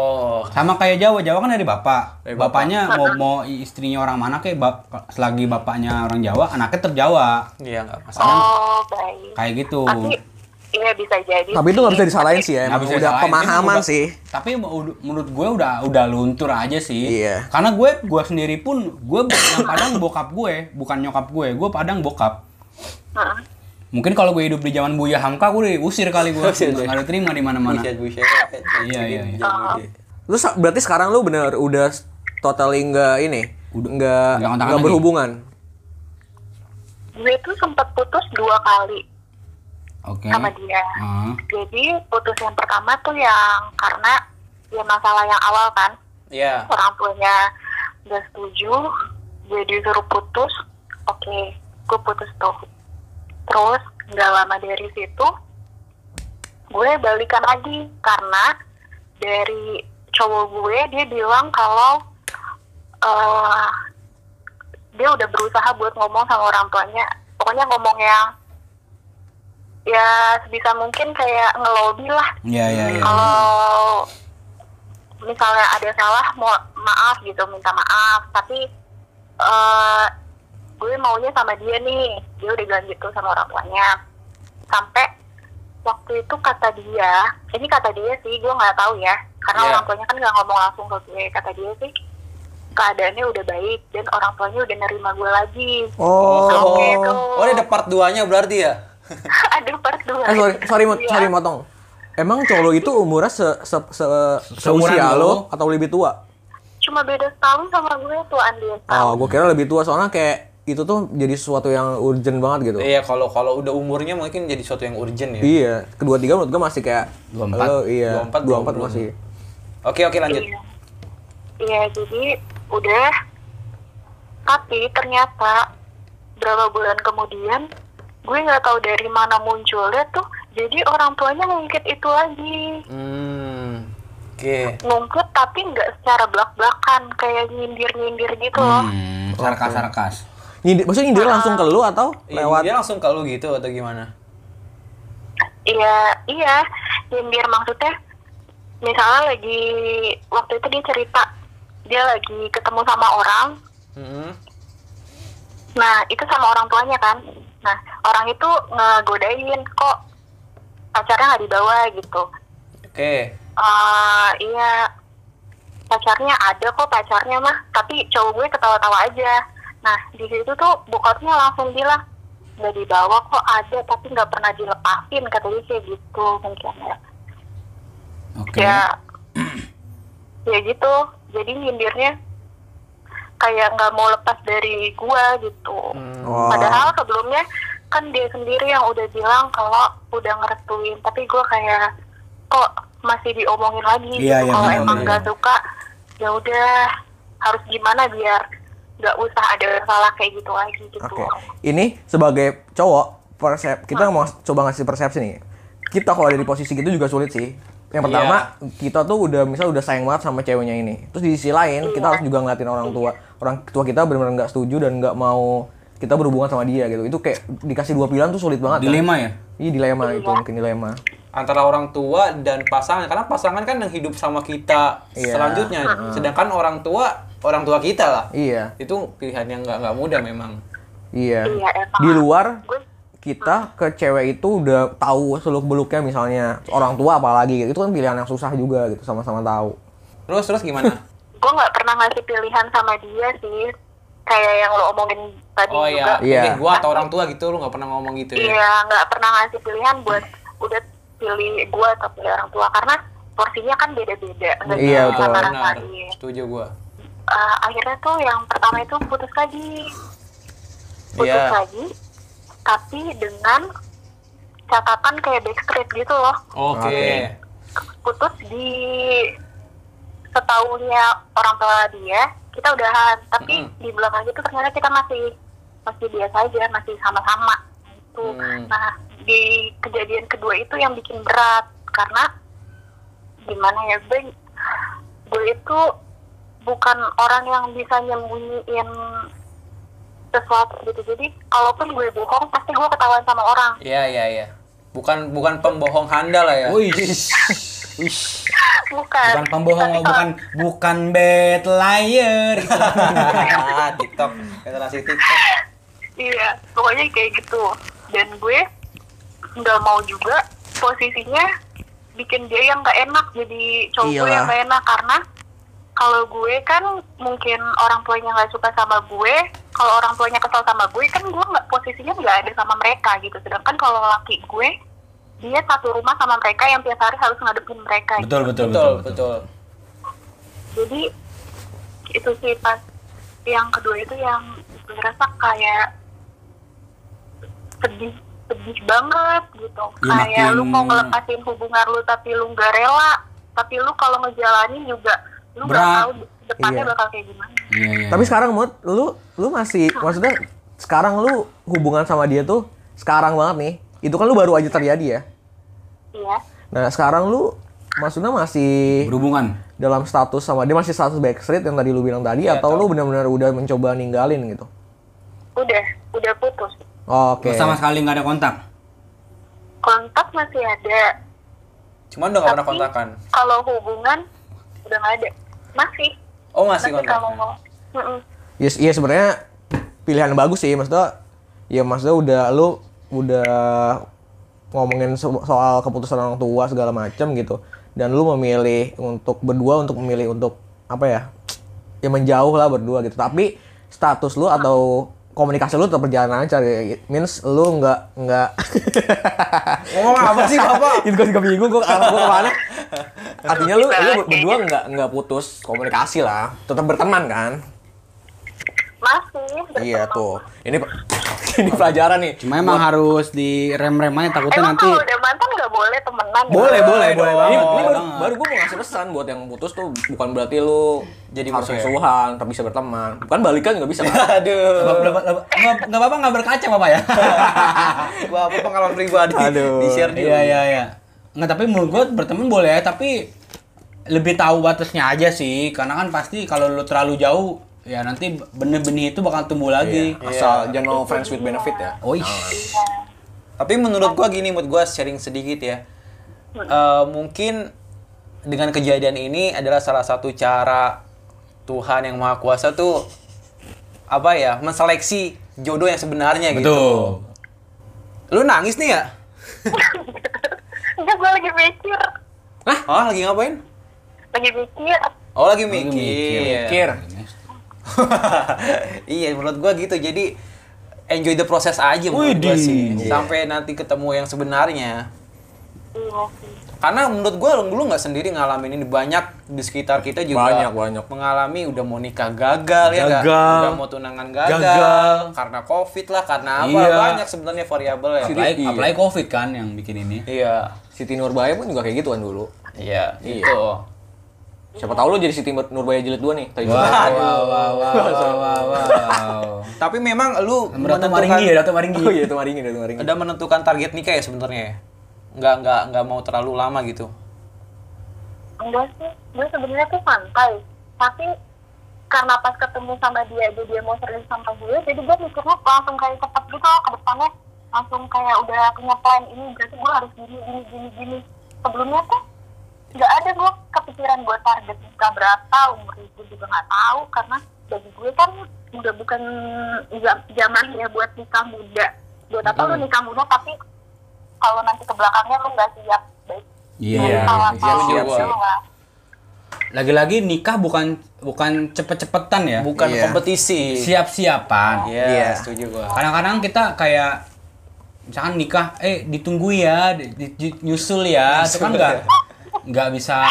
Speaker 2: Oh.
Speaker 3: sama kayak Jawa Jawa kan dari bapak
Speaker 2: Dari bapak.
Speaker 3: bapaknya mau mau istrinya orang mana kayak bap- selagi bapaknya orang Jawa anaknya tetap Jawa
Speaker 2: Iya nggak masalah.
Speaker 5: oh baik
Speaker 3: kayak gitu
Speaker 5: tapi Iya bisa jadi.
Speaker 1: Tapi itu nggak bisa disalahin sih ya.
Speaker 3: Nggak
Speaker 1: Emang
Speaker 3: bisa
Speaker 1: udah
Speaker 3: disalahin,
Speaker 1: pemahaman
Speaker 3: tapi
Speaker 1: sih.
Speaker 3: udah- Tapi udah- menurut gue udah udah luntur aja sih.
Speaker 1: Iya.
Speaker 3: Karena gue gue sendiri pun gue bu- yang padang bokap gue, bukan nyokap gue. Gue padang bokap.
Speaker 5: Heeh.
Speaker 3: Mungkin kalau gue hidup di zaman Buya Hamka gue diusir kali gue.
Speaker 2: Usir deh.
Speaker 3: Enggak ada terima di mana-mana.
Speaker 4: Buset, buset.
Speaker 3: Iya, iya, iya.
Speaker 1: Terus berarti sekarang lu bener udah totally nggak ini, nggak
Speaker 3: nggak kontakan
Speaker 1: nggak
Speaker 3: lagi.
Speaker 1: berhubungan.
Speaker 5: Gue tuh sempet putus dua kali
Speaker 3: Oke.
Speaker 1: Hmm.
Speaker 5: sama dia.
Speaker 3: Ah.
Speaker 5: Jadi putus yang pertama tuh yang karena ya masalah yang awal kan.
Speaker 2: Iya.
Speaker 5: orang tuanya udah setuju gue disuruh putus oke gue putus tuh terus nggak lama dari situ gue balikan lagi karena dari cowok gue dia bilang kalau eh, dia udah berusaha buat ngomong sama orang tuanya pokoknya ngomong yang ya sebisa mungkin kayak ngelobi lah
Speaker 3: Iya, iya, iya.
Speaker 5: kalau misalnya ada salah mau maaf gitu minta maaf tapi eh gue maunya sama dia nih dia udah bilang gitu sama orang tuanya sampai waktu itu kata dia ini kata dia sih gue nggak tahu ya karena
Speaker 2: Iya.
Speaker 5: orang tuanya kan nggak ngomong langsung ke gue kata dia sih keadaannya udah baik dan orang tuanya udah nerima gue lagi
Speaker 1: Oh.
Speaker 5: Oke
Speaker 1: Eh
Speaker 5: tuh.
Speaker 4: Oh, ini ada part 2-nya berarti ya?
Speaker 5: ada part dua
Speaker 1: Eh, sorry sorry mot-
Speaker 5: Iya.
Speaker 1: sorry motong. Emang cowok lu itu umurnya se se, se
Speaker 3: Seumuran
Speaker 1: seusia
Speaker 3: lu.
Speaker 1: lo atau lebih tua?
Speaker 5: cuma beda setahun sama gue tuan dia
Speaker 1: Oh, gue kira lebih tua soalnya kayak itu tuh jadi sesuatu yang urgent banget gitu.
Speaker 2: Iya, kalau kalau udah umurnya mungkin jadi sesuatu yang urgent ya.
Speaker 1: Iya, kedua tiga menurut gue masih kayak
Speaker 3: 24.
Speaker 1: lu, iya, 24
Speaker 2: 24, belum.
Speaker 1: masih.
Speaker 2: Oke, oke lanjut.
Speaker 5: Iya. Iya, jadi udah. Tapi ternyata berapa bulan kemudian, gue nggak tahu dari mana munculnya tuh. Jadi orang tuanya ngungkit itu lagi.
Speaker 2: Hmm. Oke.
Speaker 5: Ngungkit tapi nggak secara belak-belakan, kayak nyindir-nyindir gitu
Speaker 2: Oh.
Speaker 5: loh.
Speaker 3: Hmm, sarkas-sarkas.
Speaker 1: Nyindir, maksudnya nyindir langsung ke lu atau
Speaker 2: Iya,
Speaker 1: lewat
Speaker 2: Dia langsung ke lu gitu atau gimana?
Speaker 5: Iya, iya. Nyindir maksudnya, misalnya lagi, waktu itu dia cerita, dia lagi ketemu sama orang,
Speaker 2: Heeh.
Speaker 5: Nah, itu sama orang tuanya kan. Nah, orang itu ngegodain kok pacarnya nggak dibawa gitu.
Speaker 2: Oke.
Speaker 5: Eh, iya, pacarnya ada kok pacarnya mah. Tapi cowok gue ketawa-tawa aja. Nah, di situ tuh bokapnya langsung bilang, nggak dibawa kok ada tapi nggak pernah dilepasin kata dia kayak gitu mungkin ya.
Speaker 3: Oke.
Speaker 5: Ya, ya gitu. Jadi nyindirnya kayak nggak mau lepas dari gua gitu.
Speaker 1: Oh.
Speaker 5: Padahal sebelumnya kan dia sendiri yang udah bilang kalau udah ngerestuin, tapi gua kayak kok masih diomongin lagi
Speaker 3: Iya,
Speaker 5: gitu.
Speaker 3: iya,
Speaker 5: kalau
Speaker 3: benar,
Speaker 5: emang
Speaker 3: benar,
Speaker 5: nggak
Speaker 3: iya.
Speaker 5: suka ya udah harus gimana biar nggak usah ada salah kayak gitu lagi gitu.
Speaker 1: Oke. Ini sebagai cowok persep kita mau coba ngasih persepsi nih. Kita kalau ada di posisi gitu juga sulit sih. Yang pertama, kita tuh udah misal udah sayang banget sama ceweknya ini. Terus di sisi lain, kita harus juga ngeliatin orang tua. Orang tua kita benar-benar nggak setuju dan nggak mau kita berhubungan sama dia gitu. Itu kayak dikasih dua pilihan tuh sulit banget. kan?
Speaker 3: Dilema ya?
Speaker 1: Iya dilema itu mungkin dilema.
Speaker 2: Antara orang tua dan pasangan karena pasangan kan yang hidup sama kita
Speaker 1: Iya.
Speaker 2: selanjutnya. Sedangkan orang tua orang tua kita lah.
Speaker 1: Iya,
Speaker 2: Itu pilihan yang nggak nggak mudah memang.
Speaker 1: iya.
Speaker 5: Iya, emang.
Speaker 1: Di luar
Speaker 5: Gue
Speaker 1: kita ke cewek itu udah tahu seluk beluknya misalnya orang tua apalagi gitu. itu kan pilihan yang susah juga gitu sama-sama tahu.
Speaker 2: Terus terus gimana?
Speaker 5: gue nggak pernah ngasih pilihan sama dia sih kayak yang lo omongin tadi
Speaker 2: Oh
Speaker 5: juga
Speaker 2: iya,
Speaker 1: Iya.
Speaker 2: mungkin gua atau orang tua gitu lu nggak pernah ngomong gitu ya.
Speaker 5: Iya, nggak pernah ngasih pilihan buat udah pilih gua atau pilih orang tua karena porsinya kan beda-beda. nggak
Speaker 1: Iya,
Speaker 5: bisa
Speaker 1: betul.
Speaker 2: Benar.
Speaker 5: rata-ratain.
Speaker 2: Setuju gua.
Speaker 5: Eh, akhirnya tuh yang pertama itu putus lagi, putus
Speaker 2: Iya.
Speaker 5: lagi, tapi dengan catatan kayak backstreet gitu loh.
Speaker 2: Oke.
Speaker 1: Oke.
Speaker 5: Putus di setahunnya orang tua dia, kita udahan. Tapi di belakang itu ternyata kita masih masih biasa aja, masih sama-sama. Gitu.
Speaker 3: Mm.
Speaker 5: Nah, di kejadian kedua itu yang bikin berat karena gimana ya gue gue itu bukan orang yang bisa nyembunyiin sesuatu gitu jadi kalaupun gue bohong pasti gue ketahuan sama orang
Speaker 2: Iya iya iya. Bukan bukan pembohong handal lah ya.
Speaker 3: Wih.
Speaker 5: bukan
Speaker 3: Bukan pembohong,
Speaker 5: Tapi kalau-
Speaker 3: bukan bukan bad liar.
Speaker 2: Ah, TikTok, generasi TikTok.
Speaker 5: iya pokoknya kayak gitu dan gue nggak mau juga posisinya bikin dia yang gak enak jadi cowok gue
Speaker 1: Iyalah.
Speaker 5: yang gak enak karena kalau gue kan mungkin orang tuanya nggak suka sama gue kalau orang tuanya kesel sama gue kan gue nggak posisinya nggak ada sama mereka gitu sedangkan kalau laki gue dia satu rumah sama mereka yang tiap hari harus ngadepin mereka gitu.
Speaker 3: betul betul betul
Speaker 2: betul betul
Speaker 5: jadi itu sih pas yang kedua itu yang gue rasa kayak sedih sedih banget gitu
Speaker 3: Ya,
Speaker 5: kayak
Speaker 3: makin-
Speaker 5: lu mau ngelepasin hubungan lu tapi lu nggak rela tapi lu kalau ngejalanin juga lu nggak
Speaker 3: Berat.
Speaker 5: tahu depannya
Speaker 1: Iya.
Speaker 5: bakal kayak gimana
Speaker 3: Iya, iya.
Speaker 1: Tapi sekarang mood lu lu masih maksudnya sekarang lu hubungan sama dia tuh sekarang banget nih. Itu kan lu baru aja terjadi ya.
Speaker 5: iya
Speaker 1: Nah, sekarang lu maksudnya masih
Speaker 3: berhubungan
Speaker 1: dalam status sama dia masih status backstreet yang tadi lu bilang tadi atau lu benar-benar udah mencoba ninggalin gitu.
Speaker 5: udah udah putus
Speaker 1: Oke.
Speaker 3: sama sekali nggak ada kontak
Speaker 5: kontak masih ada
Speaker 2: cuman udah nggak pernah
Speaker 5: tapi
Speaker 2: kontakan
Speaker 5: kalau hubungan udah nggak ada masih
Speaker 2: oh masih
Speaker 5: kalau
Speaker 2: kontakan
Speaker 5: mau Mm-mm.
Speaker 1: Iya, iya sebenarnya pilihan bagus sih maksudnya. Ya maksudnya udah lu udah ngomongin so- soal keputusan orang tua segala macam gitu. Dan lu memilih untuk berdua untuk memilih untuk apa ya? Ya menjauh lah berdua gitu. Tapi status lu atau komunikasi lu tetap berjalan lancar ya. means lu nggak nggak
Speaker 3: ngomong apa sih bapak
Speaker 1: itu gue juga bingung gue arah gue kemana artinya lu lu berdua nggak nggak putus komunikasi lah tetap berteman kan
Speaker 5: masih
Speaker 1: iya
Speaker 5: berteman.
Speaker 1: tuh ini ini pelajaran nih
Speaker 3: cuma emang harus direm-rem aja takutnya
Speaker 5: Emang
Speaker 3: nanti
Speaker 5: kalau udah mantan nggak boleh temenan? ya?
Speaker 1: boleh boleh boleh
Speaker 2: dong.
Speaker 1: ini, ini
Speaker 2: Boleh
Speaker 1: baru, baru gue mau ngasih pesan buat yang putus tuh bukan berarti lu jadi harus musuhan tapi bisa berteman bukan balikan juga bisa kan?
Speaker 2: aduh
Speaker 3: Nggak- nggak- nggak- nggak apa-apa nggak berkaca bapak ya
Speaker 2: wah apa pengalaman pribadi
Speaker 1: Aduh.
Speaker 2: di share
Speaker 3: iya iya iya nggak tapi menurut gue berteman boleh ya, tapi lebih tahu batasnya aja sih karena kan pasti kalau lu terlalu jauh ya nanti benih-benih itu bakal tumbuh lagi
Speaker 1: Iya. asal jangan mau friends with benefit ya
Speaker 3: oh ish.
Speaker 2: Tapi menurut gua gini, menurut gua sharing sedikit ya. Eh, mungkin dengan kejadian ini adalah salah satu cara Tuhan yang Maha Kuasa tuh apa ya, menseleksi jodoh yang sebenarnya
Speaker 3: betul
Speaker 2: gitu. Lu nangis nih ya?
Speaker 5: Enggak, gue lagi mikir.
Speaker 2: Ah, lagi ngapain?
Speaker 5: Lagi mikir.
Speaker 2: Oh, lagi
Speaker 3: Lagi
Speaker 2: mikir.
Speaker 1: mikir
Speaker 2: iya, menurut gua gitu. Jadi enjoy the process aja menurut gua sih.
Speaker 3: Iya.
Speaker 2: Sampai nanti ketemu yang sebenarnya.
Speaker 5: Iya sih.
Speaker 2: karena menurut gue lu nggak sendiri ngalamin ini banyak di sekitar kita juga
Speaker 1: Banyak, banyak.
Speaker 2: mengalami udah mau nikah gagal, ya nggak?
Speaker 3: Gagal.
Speaker 2: udah mau tunangan gagal,
Speaker 3: Gagal.
Speaker 2: karena covid lah karena apa
Speaker 3: Iya.
Speaker 2: banyak sebenarnya variabel ya
Speaker 3: apalagi,
Speaker 1: Iya.
Speaker 3: apalagi covid kan yang bikin ini
Speaker 2: iya
Speaker 1: Siti Nurbaya pun juga kayak gitu kan dulu
Speaker 2: iya
Speaker 1: Iya.
Speaker 2: gitu
Speaker 1: siapa tahu lu jadi Siti Nurbaya jilid dua nih tadi
Speaker 3: wow wow wow wow wow wow, wow.
Speaker 2: tapi memang lu
Speaker 3: Datu
Speaker 2: menentukan
Speaker 3: Maringgi ya Datu Maringgi
Speaker 1: oh iya itu maringin itu maringin
Speaker 2: udah menentukan target nikah ya sebenarnya ya? nggak nggak nggak mau terlalu lama gitu
Speaker 5: Enggak sih. Gue sebenarnya tuh santai. Tapi karena pas ketemu sama dia aja dia mau serius sama gue, jadi gue mikirnya langsung kayak cepet gitu loh ke depannya. Langsung kayak udah punya plan ini, berarti gue harus gini, gini, gini, gini. Sebelumnya tuh nggak ada gue kepikiran gue target nikah berapa, umur itu juga nggak tahu karena bagi gue kan udah bukan za- zamannya buat nikah muda. Buat apa lu nikah muda tapi kalau nanti ke belakangnya lu nggak siap baik
Speaker 3: iya
Speaker 5: siap,
Speaker 1: siap, siap.
Speaker 3: lagi-lagi nikah bukan bukan cepet-cepetan ya
Speaker 2: bukan
Speaker 1: Iya.
Speaker 2: kompetisi
Speaker 3: siap-siapan
Speaker 2: Iya,
Speaker 1: Iya.
Speaker 2: setuju gua
Speaker 3: kadang-kadang kita kayak misalkan nikah eh ditunggu ya di- di- di- nyusul ya itu kan nggak nggak bisa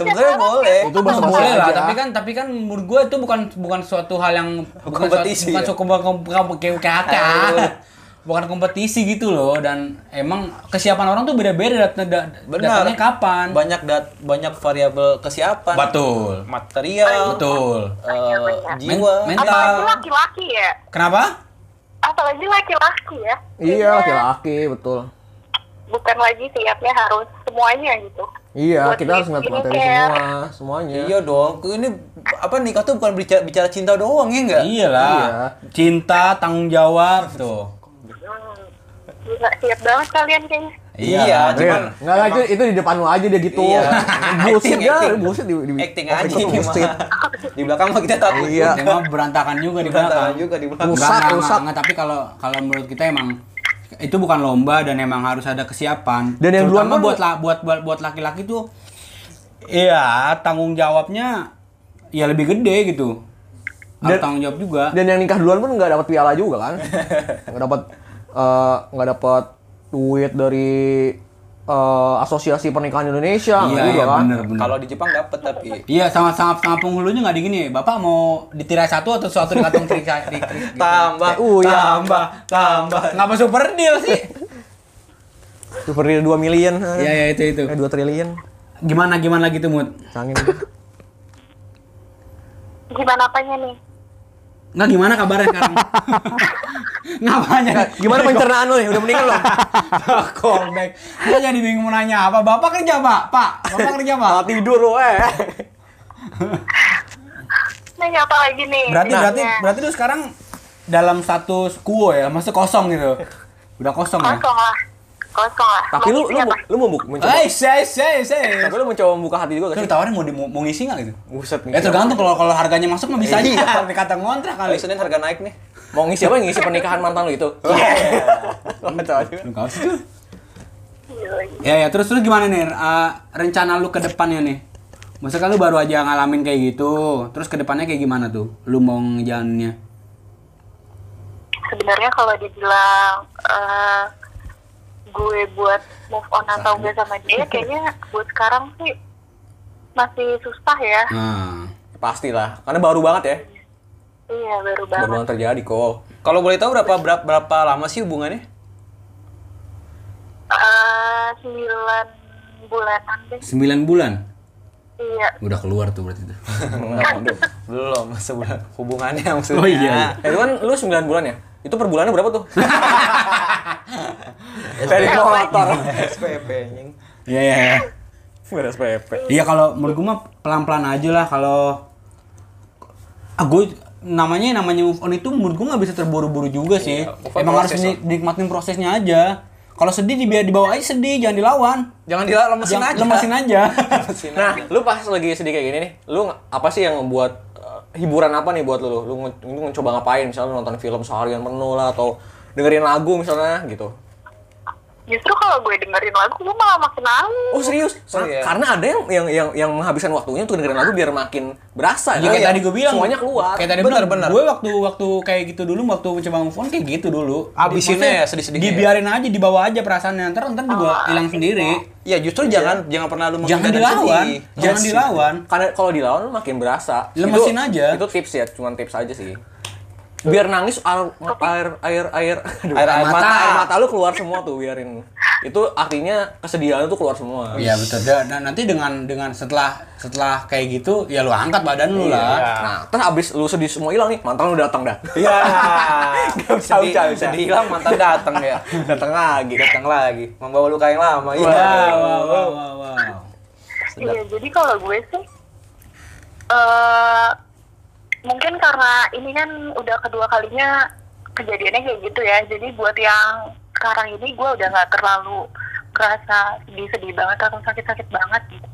Speaker 2: sebenarnya boleh
Speaker 1: Itu bahasa
Speaker 3: Nah, boleh
Speaker 1: bahasa
Speaker 3: lah
Speaker 1: aja.
Speaker 3: tapi kan tapi kan menurut gue itu bukan bukan suatu hal yang bukan
Speaker 2: Kompetisi,
Speaker 3: bukan
Speaker 2: ya?
Speaker 3: suatu bukan bukan- bukan- bukan- bukan kompetisi gitu loh dan emang kesiapan orang tuh beda-beda dat- dat-
Speaker 2: Benar.
Speaker 3: datangnya kapan
Speaker 2: banyak dat banyak variabel kesiapan
Speaker 3: betul
Speaker 2: material
Speaker 3: betul
Speaker 2: eh,
Speaker 3: Men-
Speaker 2: jiwa
Speaker 3: mental
Speaker 5: Apalagi laki-laki ya.
Speaker 3: kenapa
Speaker 5: Apalagi laki-laki ya.
Speaker 1: iya laki-laki betul
Speaker 5: Bukan lagi siapnya harus semuanya gitu.
Speaker 1: iya
Speaker 5: Buat
Speaker 1: kita harus ngeliat
Speaker 5: skincare.
Speaker 1: materi semua semuanya
Speaker 2: iya dong ini apa nikah tuh bukan bicara, bicara cinta doang ya enggak
Speaker 3: iyalah
Speaker 1: Iya.
Speaker 3: cinta tanggung jawab tuh
Speaker 5: Hmm. Gila, siap banget kalian kayaknya.
Speaker 2: Iya,
Speaker 3: Iya,
Speaker 1: Iya.
Speaker 2: cuman
Speaker 1: Nggak lah, itu, itu di depan lu aja dia gitu.
Speaker 2: Iya.
Speaker 1: bullshit
Speaker 2: Acting,
Speaker 1: ya,
Speaker 2: acting.
Speaker 1: bullshit di, di
Speaker 2: acting
Speaker 1: off
Speaker 2: aja
Speaker 1: record
Speaker 2: ini
Speaker 1: bullshit.
Speaker 2: mah di belakang mah kita takut
Speaker 1: Iya.
Speaker 3: Emang berantakan juga di
Speaker 2: Berantakan
Speaker 3: belakang.
Speaker 2: juga di belakang.
Speaker 1: Rusak,
Speaker 3: Enggak, enggak,
Speaker 1: rusak.
Speaker 3: enggak, enggak, tapi kalau kalau menurut kita emang itu bukan lomba dan emang harus ada kesiapan.
Speaker 1: Dan yang
Speaker 3: Terutama
Speaker 1: duluan kan pun-
Speaker 3: buat, la- buat buat buat laki-laki tuh iya tanggung jawabnya ya lebih gede gitu. Harus
Speaker 1: Dan-
Speaker 3: tanggung jawab juga.
Speaker 1: Dan yang nikah duluan pun nggak dapat piala juga kan? Nggak dapat eh, nggak dapat duit dari eh, asosiasi pernikahan Indonesia nggak
Speaker 3: Iya,
Speaker 1: juga
Speaker 3: iya
Speaker 1: kan?
Speaker 3: bener bener.
Speaker 4: Kalau di Jepang dapat tapi
Speaker 3: Iya sama sama sama penghulunya nggak digini. Bapak mau ditirai satu atau sesuatu di kantong tirai tirai- tirai- gitu.
Speaker 4: tambah,
Speaker 1: Oh, iya.
Speaker 4: tambah, tambah.
Speaker 3: Ngapa super deal sih?
Speaker 1: Super Real 2 million.
Speaker 3: Iya iya itu itu.
Speaker 1: Eh, 2 triliun.
Speaker 3: Gimana gimana gitu mood?
Speaker 1: Sangin.
Speaker 5: Gimana apanya nih?
Speaker 3: Nggak gimana kabarnya sekarang? Ngapanya?
Speaker 1: Gimana
Speaker 3: Iya.
Speaker 1: pencernaan lu nih? Udah mendingan belum?
Speaker 3: Callback. Gue jadi bingung mau nanya apa. Bapak kerja pak? Pak, bapak kerja
Speaker 1: Malah
Speaker 3: pak?
Speaker 1: tidur lu eh.
Speaker 5: Nanya Nah, apa lagi nih?
Speaker 3: Berarti berarti
Speaker 5: Nanya.
Speaker 3: berarti lu sekarang dalam status kuo ya, masih kosong gitu. Udah kosong ya?
Speaker 5: kosong lah. Kosong lah.
Speaker 1: Tapi lu
Speaker 5: Mau
Speaker 1: lu
Speaker 5: isinya apa?
Speaker 1: lu mau bu- mencoba.
Speaker 3: Hey, Eh, say, say, say.
Speaker 1: Tapi lu mencoba membuka hati juga gak sih?
Speaker 3: Terus Kan ditawarin mau di, mau ngisi nggak gitu? Iya.
Speaker 1: Buset nih.
Speaker 3: Ya tergantung kalau kalau harganya masuk mah bisa aja kalau dikata ngontrak kali.
Speaker 4: Kali Senin harga naik nih.
Speaker 1: Mau ngisi apa? Ngisi pernikahan mantan lu itu.
Speaker 3: Iya. Lu nggak usah.
Speaker 5: Iya, iya.
Speaker 3: Ya ya terus terus gimana nih eh, rencana lu ke depannya nih? Maksudnya kan lu baru aja ngalamin kayak gitu, terus ke depannya kayak gimana tuh? Lu mau ngejalaninnya?
Speaker 5: Sebenarnya kalau dibilang eh, gue buat move on atau
Speaker 1: Nah.
Speaker 5: gue sama dia, kayaknya buat sekarang sih masih susah ya.
Speaker 3: Nah,
Speaker 1: Pastilah, karena baru banget ya.
Speaker 5: Iya
Speaker 1: Baru
Speaker 5: baru banget.
Speaker 1: banget terjadi kok.
Speaker 4: Kalau boleh tahu berapa berapa, berapa lama sih hubungannya?
Speaker 5: Eh, Sembilan bulanan deh.
Speaker 3: 9 bulan.
Speaker 5: Iya.
Speaker 3: Udah keluar tuh berarti tuh.
Speaker 4: Belum sebulan hubungannya maksudnya.
Speaker 3: Oh iya.
Speaker 1: Eh, itu kan lu 9 bulan ya? Itu per bulannya berapa tuh? Dari
Speaker 4: SPP anjing.
Speaker 3: Iya iya. iya.
Speaker 1: Beres PP.
Speaker 3: Iya kalau menurut gue mah pelan-pelan aja lah kalau ah gue namanya namanya move on itu menurut gue nggak bisa terburu-buru juga sih.
Speaker 4: Iya, move on
Speaker 3: Emang harus
Speaker 4: proses
Speaker 3: di- dinikmatin prosesnya aja. Kalau sedih dibiar dibawa aja sedih, jangan dilawan.
Speaker 4: Jangan dilalemesin
Speaker 3: Jangan-
Speaker 4: aja.
Speaker 3: Lemesin aja.
Speaker 1: Nah, lu pas lagi sedih kayak gini nih, lu nge- apa sih yang membuat eh, hiburan apa nih buat lu? Lu, nge- lu mencoba ngapain? Misalnya lu nonton film seharian penuh lah atau dengerin lagu misalnya gitu.
Speaker 5: Justru kalau gue dengerin lagu, gue malah makin nangis.
Speaker 1: Oh serius?
Speaker 4: Oh, iya.
Speaker 1: Karena ada yang, yang yang yang menghabiskan waktunya untuk dengerin lagu biar makin berasa. kan?
Speaker 3: Ya,
Speaker 4: Oh,
Speaker 3: kayak
Speaker 4: iya.
Speaker 3: tadi gue bilang.
Speaker 1: Semuanya keluar.
Speaker 3: Kayak tadi
Speaker 4: Benar,
Speaker 3: benar
Speaker 4: benar.
Speaker 3: benar. Gue waktu waktu kayak gitu dulu waktu mencoba move on kayak gitu dulu.
Speaker 4: Abisinnya
Speaker 3: Maksudnya,
Speaker 4: ya, sedih-sedihnya ya. Ah,
Speaker 3: Dibiarin aja dibawa aja perasaannya. Ntar ntar juga hilang sendiri.
Speaker 4: Ya justru jangan jangan pernah lu
Speaker 3: Jangan
Speaker 4: menghindar dari
Speaker 3: dilawan.
Speaker 4: sedih. Iya
Speaker 3: Jangan
Speaker 4: Yes.
Speaker 3: dilawan.
Speaker 1: Karena kalau dilawan lu makin berasa.
Speaker 3: ya. Lemesin
Speaker 1: Itu-
Speaker 3: aja.
Speaker 1: Itu tips ya, cuman tips aja sih. Biar nangis air air air air aduh,
Speaker 4: Air- air mata.
Speaker 1: air mata lu keluar semua tuh biarin. Itu artinya kesedihan lu tuh keluar semua.
Speaker 3: Iya betul. Dan dan nanti dengan dengan setelah setelah kayak gitu ya lu angkat badan lu lah.
Speaker 1: Nah, terus abis lu sedih semua hilang nih, mantan lu datang dah.
Speaker 4: Iya.
Speaker 1: Gak bisa,
Speaker 4: Sedih-
Speaker 1: gak bisa.
Speaker 4: Sedih hilang mantan datang ya.
Speaker 1: datang lagi.
Speaker 4: Datang lagi, membawa luka yang lama. Iya.
Speaker 3: Wow, wow, wow, wow, wow.
Speaker 5: Iya, jadi kalau gue sih eh mungkin karena ini kan udah kedua kalinya kejadiannya kayak gitu ya. Jadi buat yang sekarang ini gue udah nggak terlalu merasa sedih-sedih banget atau sakit-sakit banget gitu.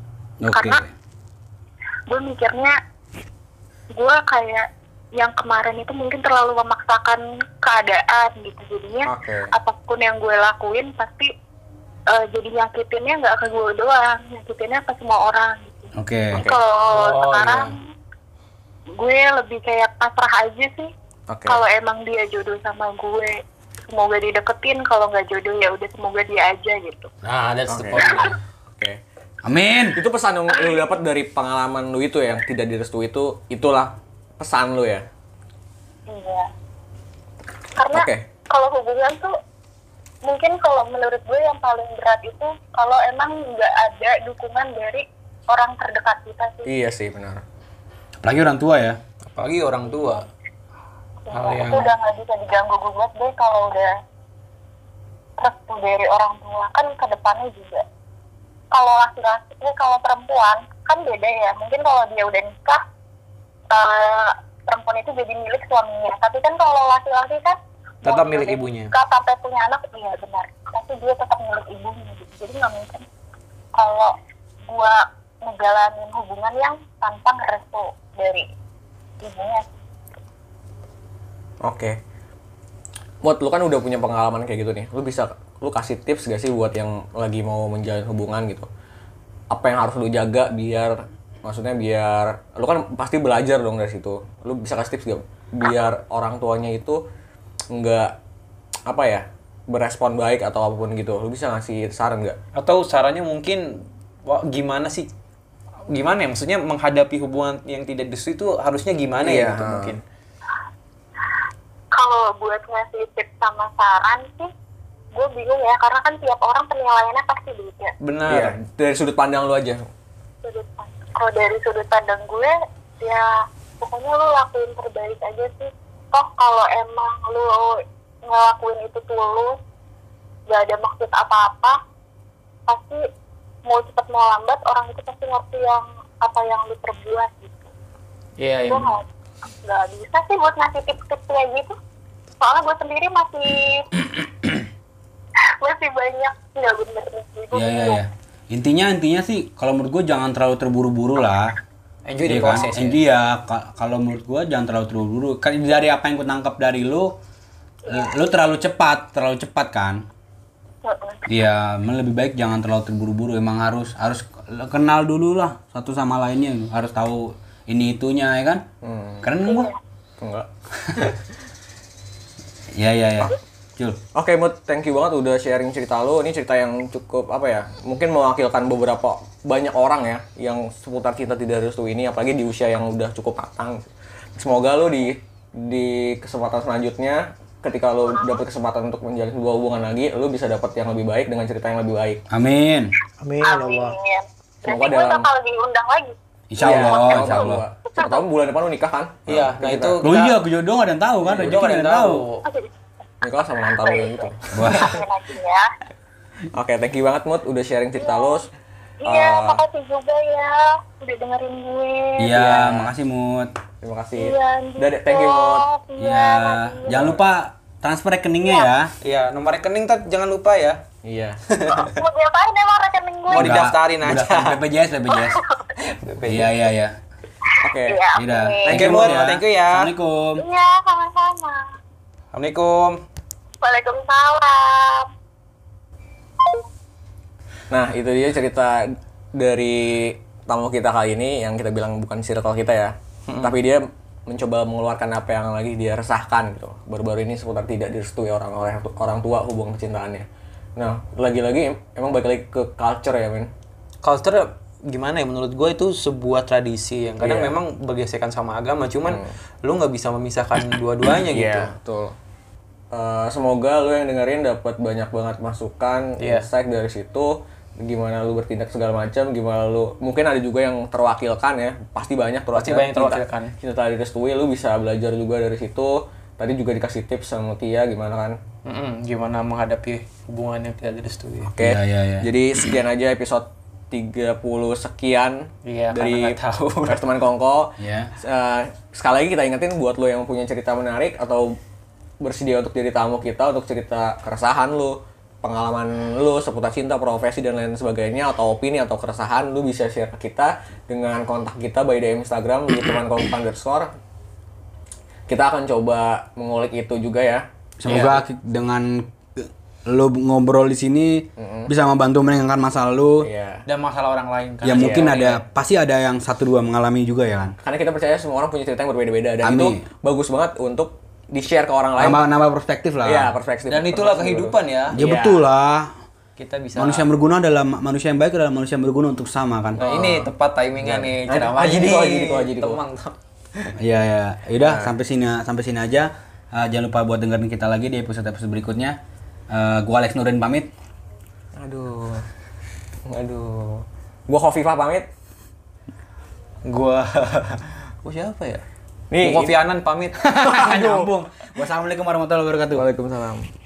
Speaker 3: Oke.
Speaker 5: Karena gue mikirnya gue kayak yang kemarin itu mungkin terlalu memaksakan keadaan gitu jadinya
Speaker 1: Oke.
Speaker 5: apapun yang gue lakuin pasti eh, jadi nyakitinnya nggak ke gue doang nyakitinnya ke semua orang gitu.
Speaker 3: Oke.
Speaker 5: Jadi kalau
Speaker 4: Oh,
Speaker 5: sekarang gue lebih kayak pasrah aja sih
Speaker 1: Oke.
Speaker 5: kalau emang dia jodoh sama gue semoga dideketin kalau nggak jodoh ya udah semoga dia aja gitu
Speaker 3: Nah, that's
Speaker 1: the
Speaker 3: point.
Speaker 1: Oke.
Speaker 3: Amin.
Speaker 1: Itu pesan yang lu dapat dari pengalaman lu itu ya, yang tidak direstui itu itulah pesan lu ya.
Speaker 5: Iya. Karena
Speaker 1: Oke.
Speaker 5: kalau hubungan tuh mungkin kalau menurut gue yang paling berat itu kalau emang nggak ada dukungan dari orang terdekat kita sih.
Speaker 1: Iya sih, benar.
Speaker 3: Apalagi orang tua ya.
Speaker 4: Apalagi orang tua.
Speaker 5: Ya, Itu udah nggak bisa diganggu gugat deh kalau udah restu dari orang tua kan ke depannya juga. Kalau laki-laki, eh, kalau perempuan kan beda ya. Mungkin kalau dia udah nikah, eh, perempuan itu jadi milik suaminya. Tapi kan kalau laki-laki kan
Speaker 4: Tetap
Speaker 5: mau dia
Speaker 4: milik
Speaker 5: udah
Speaker 4: ibunya.
Speaker 5: nikah sampai punya anak, iya benar. Tapi dia tetap milik ibunya. gitu. Jadi nggak mungkin kalau gua ngejalanin hubungan yang tanpa restu dari ibunya.
Speaker 1: Oke. buat lu kan udah punya pengalaman kayak gitu nih. Lu bisa lu kasih tips gak sih buat yang lagi mau menjalin hubungan gitu? Apa yang harus lu jaga biar maksudnya biar lu kan pasti belajar dong dari situ. Lu bisa kasih tips gak biar orang tuanya itu nggak apa ya berespon baik atau apapun gitu. Lu bisa ngasih saran nggak?
Speaker 4: atau caranya mungkin wah, gimana sih gimana ya maksudnya menghadapi hubungan yang tidak restu itu harusnya gimana
Speaker 1: Iya.
Speaker 4: ya gitu mungkin
Speaker 5: kalau buat ngasih tips sama saran sih gue bingung ya karena kan tiap orang penilaiannya pasti beda
Speaker 4: benar
Speaker 1: Iya, dari sudut pandang lu aja.
Speaker 5: sudut pandang. kalau dari sudut pandang gue ya pokoknya lu lakuin terbaik aja sih toh kalau emang lu ngelakuin itu tulus gak ada maksud apa-apa pasti mau cepat mau lambat orang itu pasti ngerti yang apa yang lu perbuat gitu
Speaker 2: Iya, iya.
Speaker 5: gue nggak nggak bisa sih buat ngasih tips-tips kayak gitu soalnya gue sendiri masih masih banyak nggak bener gitu
Speaker 3: Iya iya iya. Intinya intinya sih kalau menurut gua jangan terlalu terburu-buru lah.
Speaker 2: Enjoy the
Speaker 3: Iya kan?
Speaker 2: process ya.
Speaker 3: Enjoy ya. Ka- Kalau menurut gua jangan terlalu terburu-buru. Kan dari apa yang gua tangkap dari lu, eh, lu terlalu cepat, terlalu cepat kan?
Speaker 5: Heeh.
Speaker 3: Iya, emang lebih baik jangan terlalu terburu-buru. Emang harus harus kenal dulu lah satu sama lainnya. Harus tahu ini itunya ya kan? Keren gua.
Speaker 1: Enggak.
Speaker 3: Iya iya iya. Cul.
Speaker 1: Oke, Mut, thank you banget udah sharing cerita lu. Ini cerita yang cukup apa ya? Mungkin mewakilkan beberapa banyak orang ya yang seputar cinta tidak restu ini apalagi di usia yang udah cukup matang. Semoga lu di di kesempatan selanjutnya ketika lu dapet kesempatan untuk menjalin sebuah hubungan lagi, lu bisa dapet yang lebih baik dengan cerita yang lebih baik.
Speaker 3: Amin.
Speaker 6: Amin ya
Speaker 5: amin
Speaker 6: Allah.
Speaker 5: berarti
Speaker 1: Semoga
Speaker 5: gue
Speaker 1: dalam-
Speaker 5: bakal diundang lagi
Speaker 3: Insya
Speaker 1: Iya,
Speaker 3: Allah,
Speaker 1: tahun
Speaker 3: insya
Speaker 1: kedua.
Speaker 3: Allah.
Speaker 1: Siapa tahu bulan depan lu nikah kan?
Speaker 2: Iya, nah itu
Speaker 3: Lo
Speaker 2: kita-
Speaker 3: iya, jodoh gak ada yang tahu kan?
Speaker 2: Jodoh nggak ada yang tahu.
Speaker 1: Nikah sama mantan lu gitu.
Speaker 3: Wah.
Speaker 5: amin aja ya
Speaker 1: Oke, thank you banget Mut udah sharing cerita lu.
Speaker 5: iya
Speaker 1: Eh,
Speaker 5: makasih juga ya udah dengerin gue
Speaker 3: Iya, makasih Mut.
Speaker 1: Terima kasih.
Speaker 5: iya
Speaker 1: Udah, deh, thank you Mut.
Speaker 5: iya
Speaker 3: Iya, jangan lupa transfer rekeningnya ya.
Speaker 4: Iya, nomor rekening tat jangan lupa ya.
Speaker 1: Iya.
Speaker 5: mau diapain emang rekening gue
Speaker 4: Mau Oh, didaftarin
Speaker 3: Udah,
Speaker 4: aja. Oh,
Speaker 3: udah, BPJS, BPJS. Iya, iya, iya.
Speaker 1: Oke.
Speaker 5: iya
Speaker 3: Iya.
Speaker 5: oke.
Speaker 4: Thank you, Mut. Thank you ya.
Speaker 3: Assalamualaikum.
Speaker 5: iya sama-sama
Speaker 4: Assalamualaikum.
Speaker 5: Waalaikumsalam
Speaker 1: Nah, itu dia cerita dari tamu kita kali ini yang kita bilang bukan circle kita ya. Tapi dia mencoba mengeluarkan apa yang lagi dia resahkan gitu. Baru-baru ini seputar tidak direstui orang-orang orang tua hubungan kecintaannya. Nah, lagi-lagi emang balik lagi ke culture ya, men.
Speaker 4: Culture gimana ya menurut gue itu sebuah tradisi yang kadang
Speaker 1: Iya. Hmm.
Speaker 4: memang bergesekan sama agama cuman lu nggak bisa memisahkan dua-duanya
Speaker 1: Iya.
Speaker 4: gitu.
Speaker 1: betul. Eh, semoga lu yang dengerin dapat banyak banget masukan,
Speaker 4: Iya.
Speaker 1: insight dari situ gimana lu bertindak segala macam, gimana lu mungkin ada juga yang terwakilkan ya, pasti banyak terwakilkan.
Speaker 4: banyak
Speaker 1: Cinta-
Speaker 4: terwakilkan.
Speaker 1: Cinta tadi direstui, lu bisa belajar juga dari situ. Tadi juga dikasih tips sama Tia gimana kan.
Speaker 4: Mm-mm, gimana menghadapi hubungan yang tidak direstui.
Speaker 1: Oke.
Speaker 3: Iya, iya, iya.
Speaker 1: Jadi sekian aja episode 30 sekian
Speaker 4: Iya, karena
Speaker 1: dari
Speaker 4: nggak tahu.
Speaker 1: Podcast teman Kongko.
Speaker 3: Iya.
Speaker 1: Eh, sekali lagi kita ingetin buat lo yang punya cerita menarik atau bersedia untuk jadi tamu kita untuk cerita keresahan lo, pengalaman lo seputar cinta, profesi dan lain sebagainya atau opini atau keresahan lo bisa share ke kita dengan kontak kita by DM Instagram di teman Kongko underscore. Kita akan coba mengulik itu juga ya.
Speaker 3: Semoga ki- dengan lo ngobrol di sini bisa membantu meringankan masalah lo.
Speaker 1: Iya.
Speaker 4: Dan masalah orang lain kan.
Speaker 3: Ya mungkin ada pasti ada yang satu dua mengalami juga ya kan.
Speaker 1: karena kita percaya semua orang punya cerita yang berbeda-beda dan
Speaker 3: Amin.
Speaker 1: itu bagus banget untuk di share ke orang lain.
Speaker 3: Nambah nambah perspektif lah.
Speaker 1: Iya, perspektif.
Speaker 4: Dan itulah
Speaker 1: perspektif
Speaker 4: kehidupan ya.
Speaker 3: Ya betul lah.
Speaker 4: Kita bisa
Speaker 1: Iya.
Speaker 3: Manusia yang berguna adalah ma- manusia yang baik adalah manusia yang berguna untuk sama kan.
Speaker 4: Nah, ini tepat timingan nih
Speaker 1: Nanti-
Speaker 4: ceramah
Speaker 1: aji
Speaker 4: ini.
Speaker 1: diko, aji diko, aji diko.
Speaker 4: Temang, temang.
Speaker 3: Iya ya. Yaudah sampai sini sampai sini aja. Eh, jangan lupa buat dengerin kita lagi di episode episode berikutnya. Eh, gua Alex Nurin pamit.
Speaker 1: Aduh. Aduh. Gua Kofifa pamit.
Speaker 4: Gua Gua siapa ya?
Speaker 1: Nih,
Speaker 4: Gua Kofi Anan pamit.
Speaker 3: Nyambung. Wassalamualaikum warahmatullahi wabarakatuh.
Speaker 1: Waalaikumsalam.